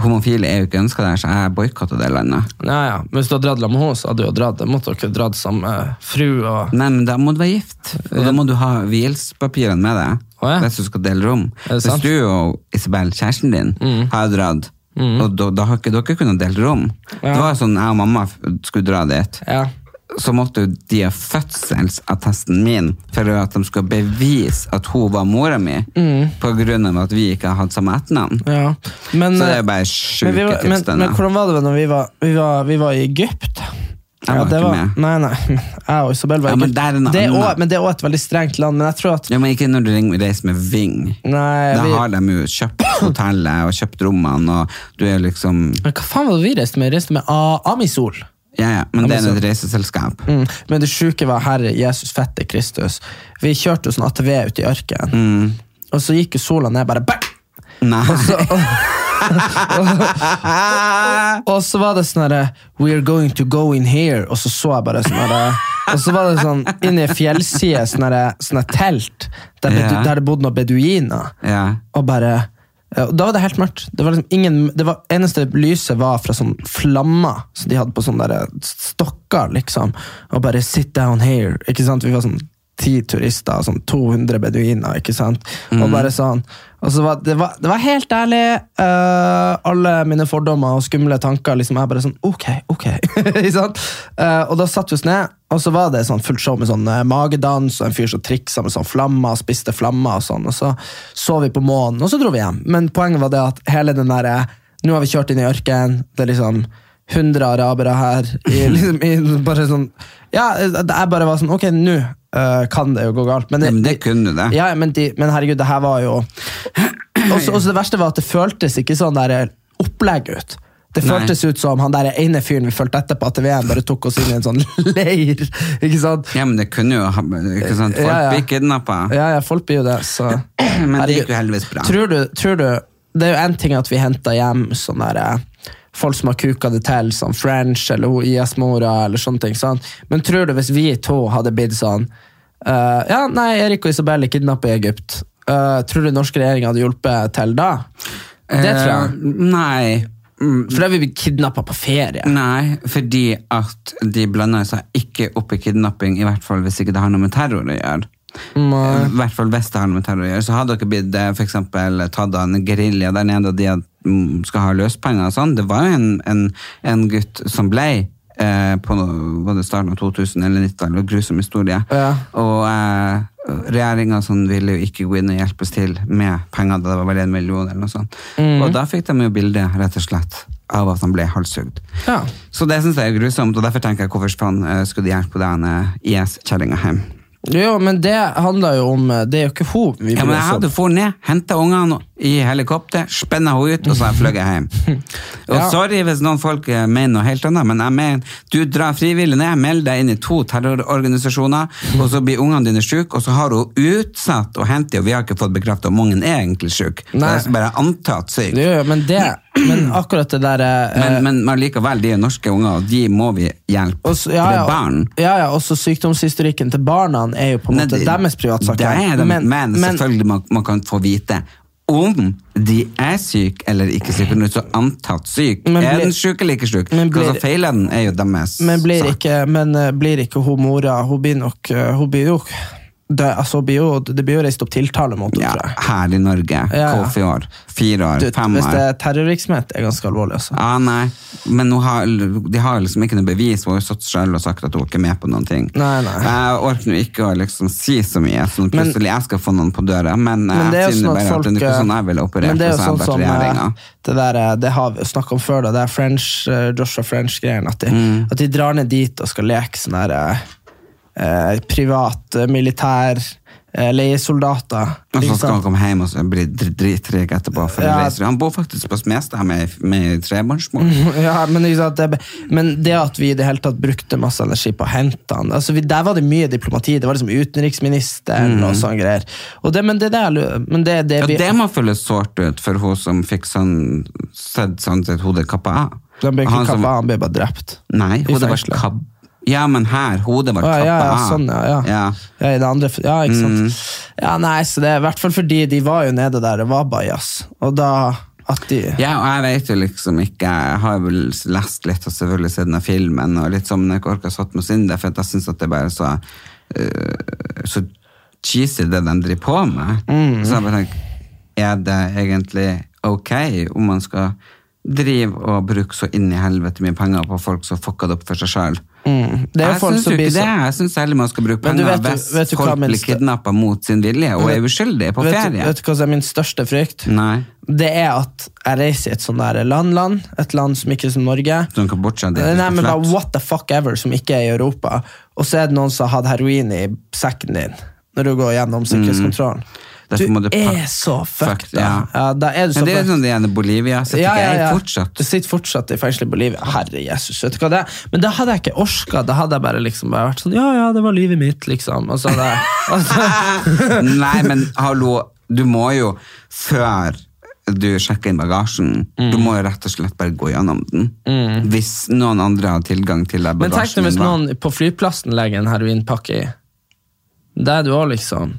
S1: homofile er jo ikke ønska der, så jeg boikotta det landet.
S3: Ja, ja. Men hvis du hadde dratt sammen med henne, så hadde du jo dratt. Da måtte dere dratt sammen med fru og
S1: Nei, men da må du være gift, og da må du ha vielspapirene med deg.
S3: Å, ja.
S1: Hvis du skal dele rom.
S3: Er det
S1: Hvis
S3: sant? Mm.
S1: du og Isabel, kjæresten din, har dratt, og da, da har ikke dere kunnet dele rom.
S3: Ja.
S1: Det var jo sånn jeg og mamma f- skulle dra dit.
S3: Ja.
S1: Så måtte jo de ha fødselsattesten min for at de skulle bevise at hun var mora mi,
S2: Mm.
S1: på grunn av at vi ikke hadde samme etternavn.
S3: Ja. Men,
S1: Så det er jo bare
S3: eh,
S1: sjuke
S3: men vi var- men,
S1: tilstander.
S3: men hvordan var det vel når vi var, vi var, vi var i Egypt?
S1: Jeg var
S2: det
S1: ikke med.
S2: Nei, nei. Jeg og Isabel var
S1: Ja,
S2: i
S1: men
S2: Egypt.
S1: der er en
S2: det er
S1: annen.
S2: også- men det er også et veldig strengt land. Men jeg tror at
S1: Ja, men ikke når du ringer- reiser med Ving.
S2: Nei,
S1: da
S2: vi-
S1: har de jo kjøpt hotellet og kjøpt rommene, og du er liksom
S2: Men Hva faen var det vi reiste med? Vi reiste med A- Amisol.
S1: Ja, ja, men det er
S2: så-
S1: et reiseselskap.
S2: Mm. Men det sjuke var Herre Jesus fette Kristus. Vi kjørte jo sånn ATV ut i ørkenen,
S1: Mm.
S2: og så gikk jo sola ned bare bang!
S1: Nei.
S2: Og så, og, og så var det sånn herre We're going to go in here. Og så så jeg bare sånn herre Og så var det sånn inni ei fjellside, sånn herre sånn herre telt, der, bedu,
S1: Ja.
S2: der det bodde noen beduiner.
S1: Ja.
S2: Og bare ja, og Da var det helt mørkt. Det var liksom ingen, det var, eneste lyset var fra sånn flammer som de hadde på sånne der eh, stokker. liksom. Og bare 'sit down here'. ikke sant? Vi var sånn ti turister og sånn 200 beduiner. ikke sant? Og bare sånn. Og så var, det, var, det var helt ærlig. eh, alle mine fordommer og skumle tanker. liksom, Jeg bare sånn OK, OK. ikke sant? Eh, og da satt vi oss ned, og så var det sånn fullt show med sånn eh, magedans og en fyr som triksa med sånn flammer og spiste flammer. og sånn, og Så så vi på månen, og så dro vi hjem. Men poenget var det at hele den derre Nå har vi kjørt inn i ørkenen. Det er liksom 100 arabere her. I, liksom, i, bare sånn Ja, det- jeg bare var sånn Ok, nå eh, kan det jo gå galt. Men
S1: Ja,
S2: det,
S1: men det kunne du, det.
S2: Ja, men, de, men herregud, det her var jo også, også det verste var at det føltes ikke sånn der opplegg ut. Det
S1: Nei.
S2: føltes ut som han der ene fyren vi fulgte etter på ATV-en, bare tok oss inn i en sånn leir. ikke sant?
S1: Ja, men det kunne jo ha ikke sant? Folk
S2: Ja, ja.
S1: blir kidnappa.
S2: Ja, ja, folk blir jo det, så
S1: Men det
S2: Herregud.
S1: gikk jo heldigvis bra.
S2: Tror du, tror du Det er jo én ting at vi henter hjem sånne der, eh, folk som har kuka det til, som French eller hun IS-mora, eller sånne ting, sant? men tror du hvis vi to hadde blitt sånn eh, Ja, nei, Erik og Isabel er kidnappa i Egypt. Eh, tror du norsk regjering hadde hjulpet til da? Det tror jeg.
S1: Eh, Nei. Mm,
S2: For da er vi blitt kidnappa på ferie.
S1: Nei, fordi at de blander seg ikke opp i kidnapping, i hvert fall hvis ikke det har noe med terror å gjøre. Eh, I hvert fall hvis det har noe med terror å gjøre. Så hadde dere blitt eh, for eksempel, tatt av en gerilja der nede, og de had- mm, skal ha løspenger og sånn. Det var jo en, en, en gutt som ble eh, på noe- var det starten av 2000 eller 90-tallet, og grusom historie.
S2: Ja.
S1: Og eh, regjeringa sånn, ville jo ikke gå inn og hjelpes til med penger, da det var vel en million eller noe sånt. Og da fikk de jo bilde, rett og slett, av at han ble halshugd.
S2: Ja.
S1: Så det syns jeg er grusomt, og derfor tenker jeg hvorfor faen eh, skulle de hjelpe den eh, IS-kjerringa hjem?
S2: Jo, men det handler jo om eh, Det er jo ikke hun vi
S1: Ja,
S2: bryr
S1: men jeg
S2: oss om.
S1: hadde for ned, hentet ungene i helikopter, spennet henne ut, og så har jeg fløyet hjem. Og
S2: Ja.
S1: sorry hvis noen folk eh, mener noe helt annet, men jeg mener, du drar frivillig ned, melder deg inn i to terrororganisasjoner, og så blir ungene dine syke, og så har hun utsatt og hentet, og vi har ikke fått bekreftet om ungen er egentlig syk. Det
S2: Nei.
S1: er altså bare antatt syk.
S2: Jo, jo, men, det, men akkurat det der eh,
S1: Men, men, men likevel, de er norske unger, og de må vi hjelpe.
S2: Og så-
S1: For det
S2: ja,
S1: er barn.
S2: Ja, ja, også sykdomshistorikken til barna er jo på en
S1: Nei,
S2: måte
S1: det-
S2: deres privatsak.
S1: Det er det, men, selvfølgelig man, man kan få vite om de er syke eller ikke syke. Nå er det så antatt syk.
S2: Men
S1: er
S2: blir-
S1: den syk eller ikke syk?
S2: Men
S1: Hva som
S2: blir-
S1: feiler den, er jo deres
S2: men blir
S1: sak.
S2: ikke, men eh, blir ikke hun mora Hun blir nok eh, Hun blir jo det, altså, hun blir jo, det blir jo reist opp tiltale mot henne,
S1: Ja,
S2: tror jeg.
S1: her i Norge.
S2: ja.
S1: Hvorfor i år? Fire år?
S2: Du,
S1: fem
S2: hvis
S1: år?
S2: det er terrorvirksomhet, er det ganske alvorlig. Altså.
S1: Ja, nei. Men nå har, de har liksom ikke noe bevis. Hun har jo stått selv og sagt at hun ikke er med på noen ting.
S2: Nei, nei.
S1: Jeg orker nå ikke å liksom si så mye, sånn
S2: Men-
S1: at plutselig jeg skal få noen på døra. Men,
S2: Men det er jo
S1: jeg finner
S2: sånn at
S1: bare
S2: folk
S1: at det er ikke
S2: eh,
S1: sånn jeg ville operert.
S2: Men det er
S1: hvis
S2: jo
S1: jeg
S2: sånn
S1: hadde vært
S2: som eh,
S1: regjeringen.
S2: det, der, eh, det har vi snakket om før, da, det er French, eh, Joshua French-greien. At, de-
S1: Mm.
S2: at de drar ned dit og skal leke sånn der eh, eh, privat eh, militær eh, leiesoldater.
S1: Og så
S2: ikke
S1: skal han
S2: sant?
S1: komme hjem og så bli dr- drittreg etterpå.
S2: Liksom.
S1: For
S2: Ja.
S1: å reise. Han bor faktisk på Smestad med, med trebarnsmor.
S2: Ja, men, ikke sant, det, er be- men det at vi i det hele tatt brukte masse energi på å hente han altså vi, Der var det mye diplomati. Det var liksom utenriksministeren og sånne greier. Og det, men det, der, men det, det,
S1: Mm. Ja,
S2: vi,
S1: det må føles sårt ut for hun som fikk sånn, sett sånn sitt hode kappa av.
S2: de ble ikke
S1: Han som-
S2: kappa, han ble bare drept.
S1: Nei, hodet ble
S2: fengselet.
S1: kapp... Ja, men her, hodet ble
S2: Å,
S1: kappa
S2: ja, ja,
S1: av.
S2: sånn, ja, ja.
S1: Ja. Mm.
S2: Ja, i det andre, ja ikke sant? Ja, nei, så det er i hvert fall fordi de var jo nede der det var bajas, og da At de
S1: Ja, og jeg vet jo liksom ikke Jeg har vel lest litt og selvfølgelig sett den av filmen, og litt sånn, men jeg har ikke orka satt meg inn i det, for at jeg syns at det er bare så eh, Så cheesy, det de driver på med.
S2: Mm.
S1: Så jeg bare tenker Er det egentlig ok om man skal drive og bruke så inn i helvete mye penger på folk som fucka det opp for seg sjøl?
S2: Mm. Det er jo
S1: Jeg
S2: folk
S1: syns
S2: som
S1: jo
S2: blir
S1: ikke det.
S2: så-
S1: Jeg syns heller man skal bruke
S2: Men du
S1: penger
S2: vet jo-
S1: hvis
S2: vet du hva
S1: folk blir
S2: minst-
S1: kidnappa mot sin vilje og er uskyldige på
S2: vet, du-
S1: ferie.
S2: Vet du hva som er min største frykt?
S1: Nei.
S2: Det er at jeg reiser i et sånn der land-land, et land som ikke er som Norge.
S1: Som Kambodsja, det er
S2: Nei, men
S1: slett.
S2: bare what the fuck ever, som ikke er i Europa. Og så er det noen som har hatt heroin i sekken din når du går gjennom sikkerhetskontrollen. Du
S1: Mm. Derfor må du
S2: er
S1: pakke-
S2: så fucked,
S1: fucked,
S2: da.
S1: ja.
S2: Ja, da er du så
S1: Men det er
S2: fucked.
S1: sånn det ene Bolivia. Så ja, ja, Jeg fortsatt.
S2: Det sitter fortsatt i fengsel i Bolivia. Herre Jesus, vet du hva det er? Men da hadde jeg ikke orka. Da hadde jeg bare liksom bare vært sånn Ja, ja, det var livet mitt, liksom. Og så hadde jeg
S1: Nei, men hallo, du må jo før du sjekker inn bagasjen, du
S2: Mm.
S1: må jo rett og slett bare gå gjennom den. Hvis noen andre har tilgang til den
S2: Men tenk
S1: bagasjen.
S2: deg hvis
S1: din, da.
S2: noen på flyplassen legger en heroinpakke i. Det er du òg, liksom.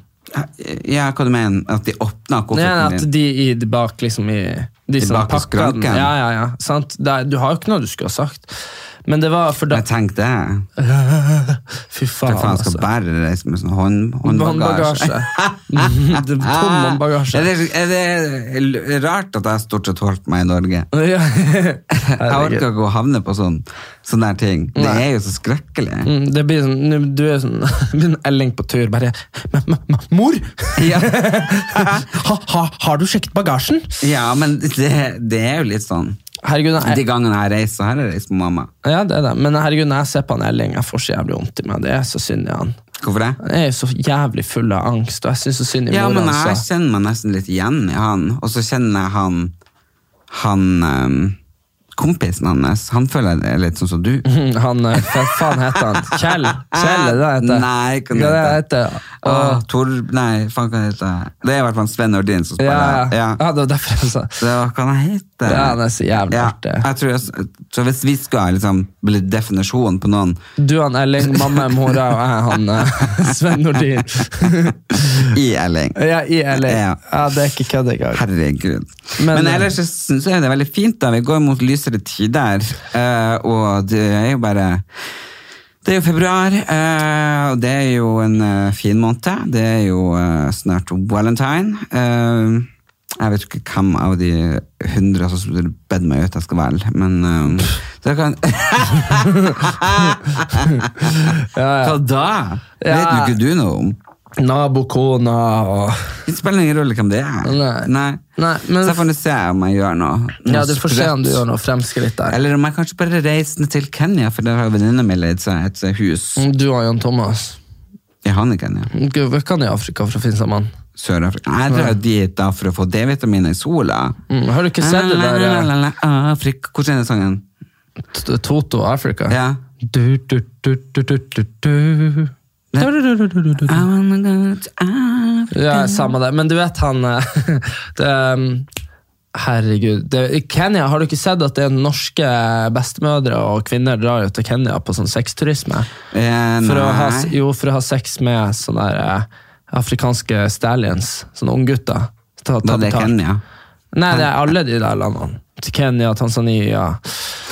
S1: Ja, hva du mener? At de åpner
S2: Nei,
S1: kofferten
S2: at
S1: din?
S2: de i de bak liksom i de som
S1: bak i
S2: pakka den.
S1: skranken.
S2: Ja, ja, ja. Sant? Det er, du har jo ikke noe du skulle ha sagt. Men det var for da
S1: Jeg tenkte det.
S2: Fy faen,
S1: Hva faen skal
S2: altså.
S1: bære reise med sånn hånd, håndbagasje?
S2: Håndbagasje. Det er Tom
S1: Er
S2: håndbagasje.
S1: det, er det rart at jeg stort sett holdt meg i Norge?
S2: Ja.
S1: Jeg orker ikke å havne på sånn, sånne her ting. Det er jo så skrekkelig.
S2: Mm, Det blir sånn, nu- du er sånn det blir en Elling på tur, bare «M- m- m- Mor!
S1: Ja.
S2: ha, ha, har du sjekket bagasjen?
S1: Ja, men det, det er jo litt sånn.
S2: Herregud, jeg,
S1: De gangene jeg reiser, så har jeg reist med mamma.
S2: Ja, det er det. Men herregud, når jeg ser på han Elling, jeg får så jævlig vondt i meg. Det er så synd i han.
S1: Hvorfor det?
S2: Jeg er jo så jævlig full av angst, og jeg syns så synd i
S1: Ja,
S2: mora
S1: men jeg
S2: hans. altså. da.
S1: kjenner meg nesten litt igjen i han, og så kjenner jeg han, han ehm, kompisen hans, han føler jeg er litt sånn som du.
S2: Mm, Han, eh, hva faen heter han? Kjell? Kjell, er det det han heter?
S1: Nei, hva
S2: det
S1: det
S2: er det han
S1: heter?
S2: heter.
S1: Åh, Tor... Nei, faen hva heter det? Det er i hvert fall Sven Nordin som
S2: Ja,
S1: spiller.
S2: ja. ja, det var derfor jeg sa
S1: Det var hva han heter.
S2: Ja, han er så jævlig artig.
S1: Jeg tror jeg, så hvis vi skal liksom, bli definisjonen på noen
S2: Du, han Elling, mamma er mora, og jeg han eh, Sven Nordin.
S1: i Elling
S2: ja, i Elling.
S1: Ja.
S2: Ja, det er ikke kødd engang.
S1: Herregud.
S2: Men-
S1: Men, eh, ellers så syns jeg det er veldig fint. da. Vi går mot lysere tider, eh, og det er jo bare det er jo februar, eh, og det er jo en eh, fin måned. Det er jo eh, snart valentine. Eh, Jeg vet ikke hvem av de hundre som skulle bedt meg ut jeg skal velge, men eh, så jeg kan Hva da? Det vet
S2: Ja.
S1: jo ikke du noe om.
S2: Nabokona og
S1: Det spiller ingen rolle hvem det er.
S2: Nei. Nei, men-
S1: Så jeg får nå se om jeg gjør noe. noe
S2: Ja, du får se om du
S1: sprøtt.
S2: gjør noe fremskritt der.
S1: Eller om jeg kanskje bare reiser ned til Kenya, for der har venninna mi leid seg et eh, hus.
S2: Mm, Du og Jan Thomas. Mm,
S1: Jeg har ikke Kenya.
S2: Gud, hvor kan i Afrika for å finne sammen?
S1: Sør-Afrika. Jeg drar dit da for å få D-vitaminer i sola.
S2: Mm, har du ikke sett det der, ja?
S1: La, la, la, la, Afrika. Hvordan er den sangen?
S2: T- Toto Africa?
S1: Ja.
S2: Du, du, du, du, du, du, du. Du, du, du, du, du, du, du.
S1: I wanna go to Africa.
S2: Ja, samme det. Men du vet han eh, det, um, Herregud. Det, Kenya, har du ikke sett at det er norske bestemødre og kvinner drar jo til Kenya på sånn sexturisme?
S1: Eh,
S2: For å, ha,
S1: nei.
S2: jo, for å ha sex med sånne der, eh, afrikanske stallions, sånne unggutter. Ta, ta
S1: Da det er
S2: betalt.
S1: Kenya.
S2: Nei, det er alle de der landene. Kenya, Tanzania.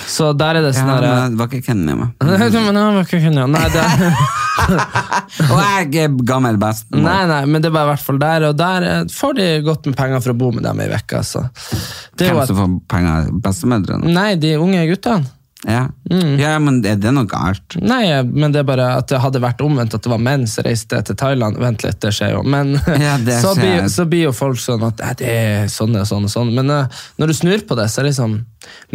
S2: Så der er det
S1: Ja,
S2: sånn
S1: men
S2: derre
S1: det var ikke Kenya med.
S2: Nei, men det var ikke Kenya. Nei, det
S1: Og jeg er gammel bestemor.
S2: nei, nei, men det var i hvert fall der, og der eh, får de godt med penger for å bo med dem ei uke. Altså. Det er jo
S1: Hvem
S2: at-
S1: som får penger? Bestemødrene?
S2: Nei, de unge guttene.
S1: Ja.
S3: Mm.
S1: ja, men er det noe galt?
S2: Nei, men det er bare at det hadde vært omvendt, at det var menn som reiste til Thailand. Vent litt, det skjer jo. Men
S1: Ja, det
S2: så,
S1: skjer.
S2: blir, så blir jo folk sånn at «Nei, det er sånn og sånn og sånn. Men eh, når du snur på det, så er liksom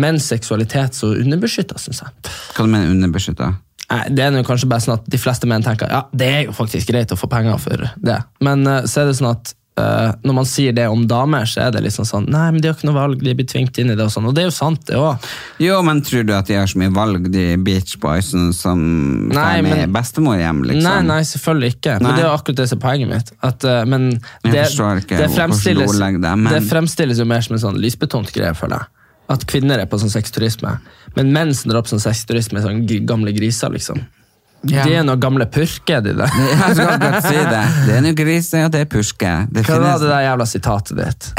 S2: menns seksualitet så underbeskytta, syns jeg.
S1: Hva du mener underbeskytta?
S2: Nei, det er nå kanskje bare sånn at de fleste menn tenker ja, det er jo faktisk greit å få penger for det. Men eh, så er det sånn at eh, når man sier det om damer, så er det liksom sånn nei, men de har ikke noe valg, de blir tvingt inn i det og sånn. Og det er jo sant, det òg.
S1: Jo, men tror du at de har så mye valg, de beach boysene som
S2: Nei,
S1: tar med
S2: men-
S1: bestemor hjem, liksom?
S2: Nei, nei, selvfølgelig ikke. Men
S1: Nei.
S2: det er jo akkurat det som er poenget mitt. At, eh, men
S1: Jeg
S2: det,
S1: forstår ikke
S2: det
S1: hvordan du
S2: fremstilles,
S1: ordlegger det, men-
S2: det fremstilles jo mer som en sånn lysbetont greie, føler jeg. At kvinner er på sånn sexturisme. Men menn som drar på sånn sexturisme, er sånn g- gamle griser, liksom.
S1: Ja.
S3: Det er noen gamle purker, de der.
S1: Jeg skal akkurat si det. Det er noe grise, og det er purske. Det
S3: Hva var
S1: finnes-
S3: det der jævla sitatet ditt?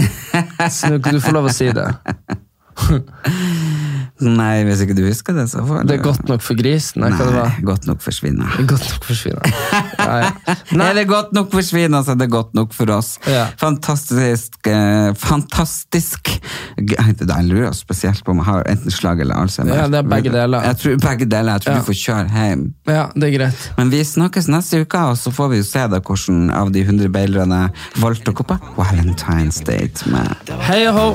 S3: Så nå kan du få lov å si det.
S1: Nei, hvis ikke du husker det, så får du
S3: Det er godt nok for grisen. Nei, hva det
S1: Nei,
S3: var?
S1: godt nok forsvinner.
S3: Det er Godt nok for svina. Ja, ja.
S1: Er det godt nok for svina, så er det godt nok for oss.
S3: Ja.
S1: Fantastisk eh, Fantastisk Jeg lurer spesielt på om jeg har enten slag eller alzheimer.
S3: Ja, det er begge deler.
S1: Jeg tror, begge deler. Jeg tror
S3: Ja.
S1: du får kjøre hjem.
S3: ja, det er greit.
S1: Men vi snakkes neste uke, og så får vi jo se da hvordan av de 100 beilerne valgte å gå på Valentine's Date med.
S3: Hei og hå!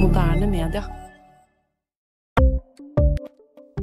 S4: Moderne media.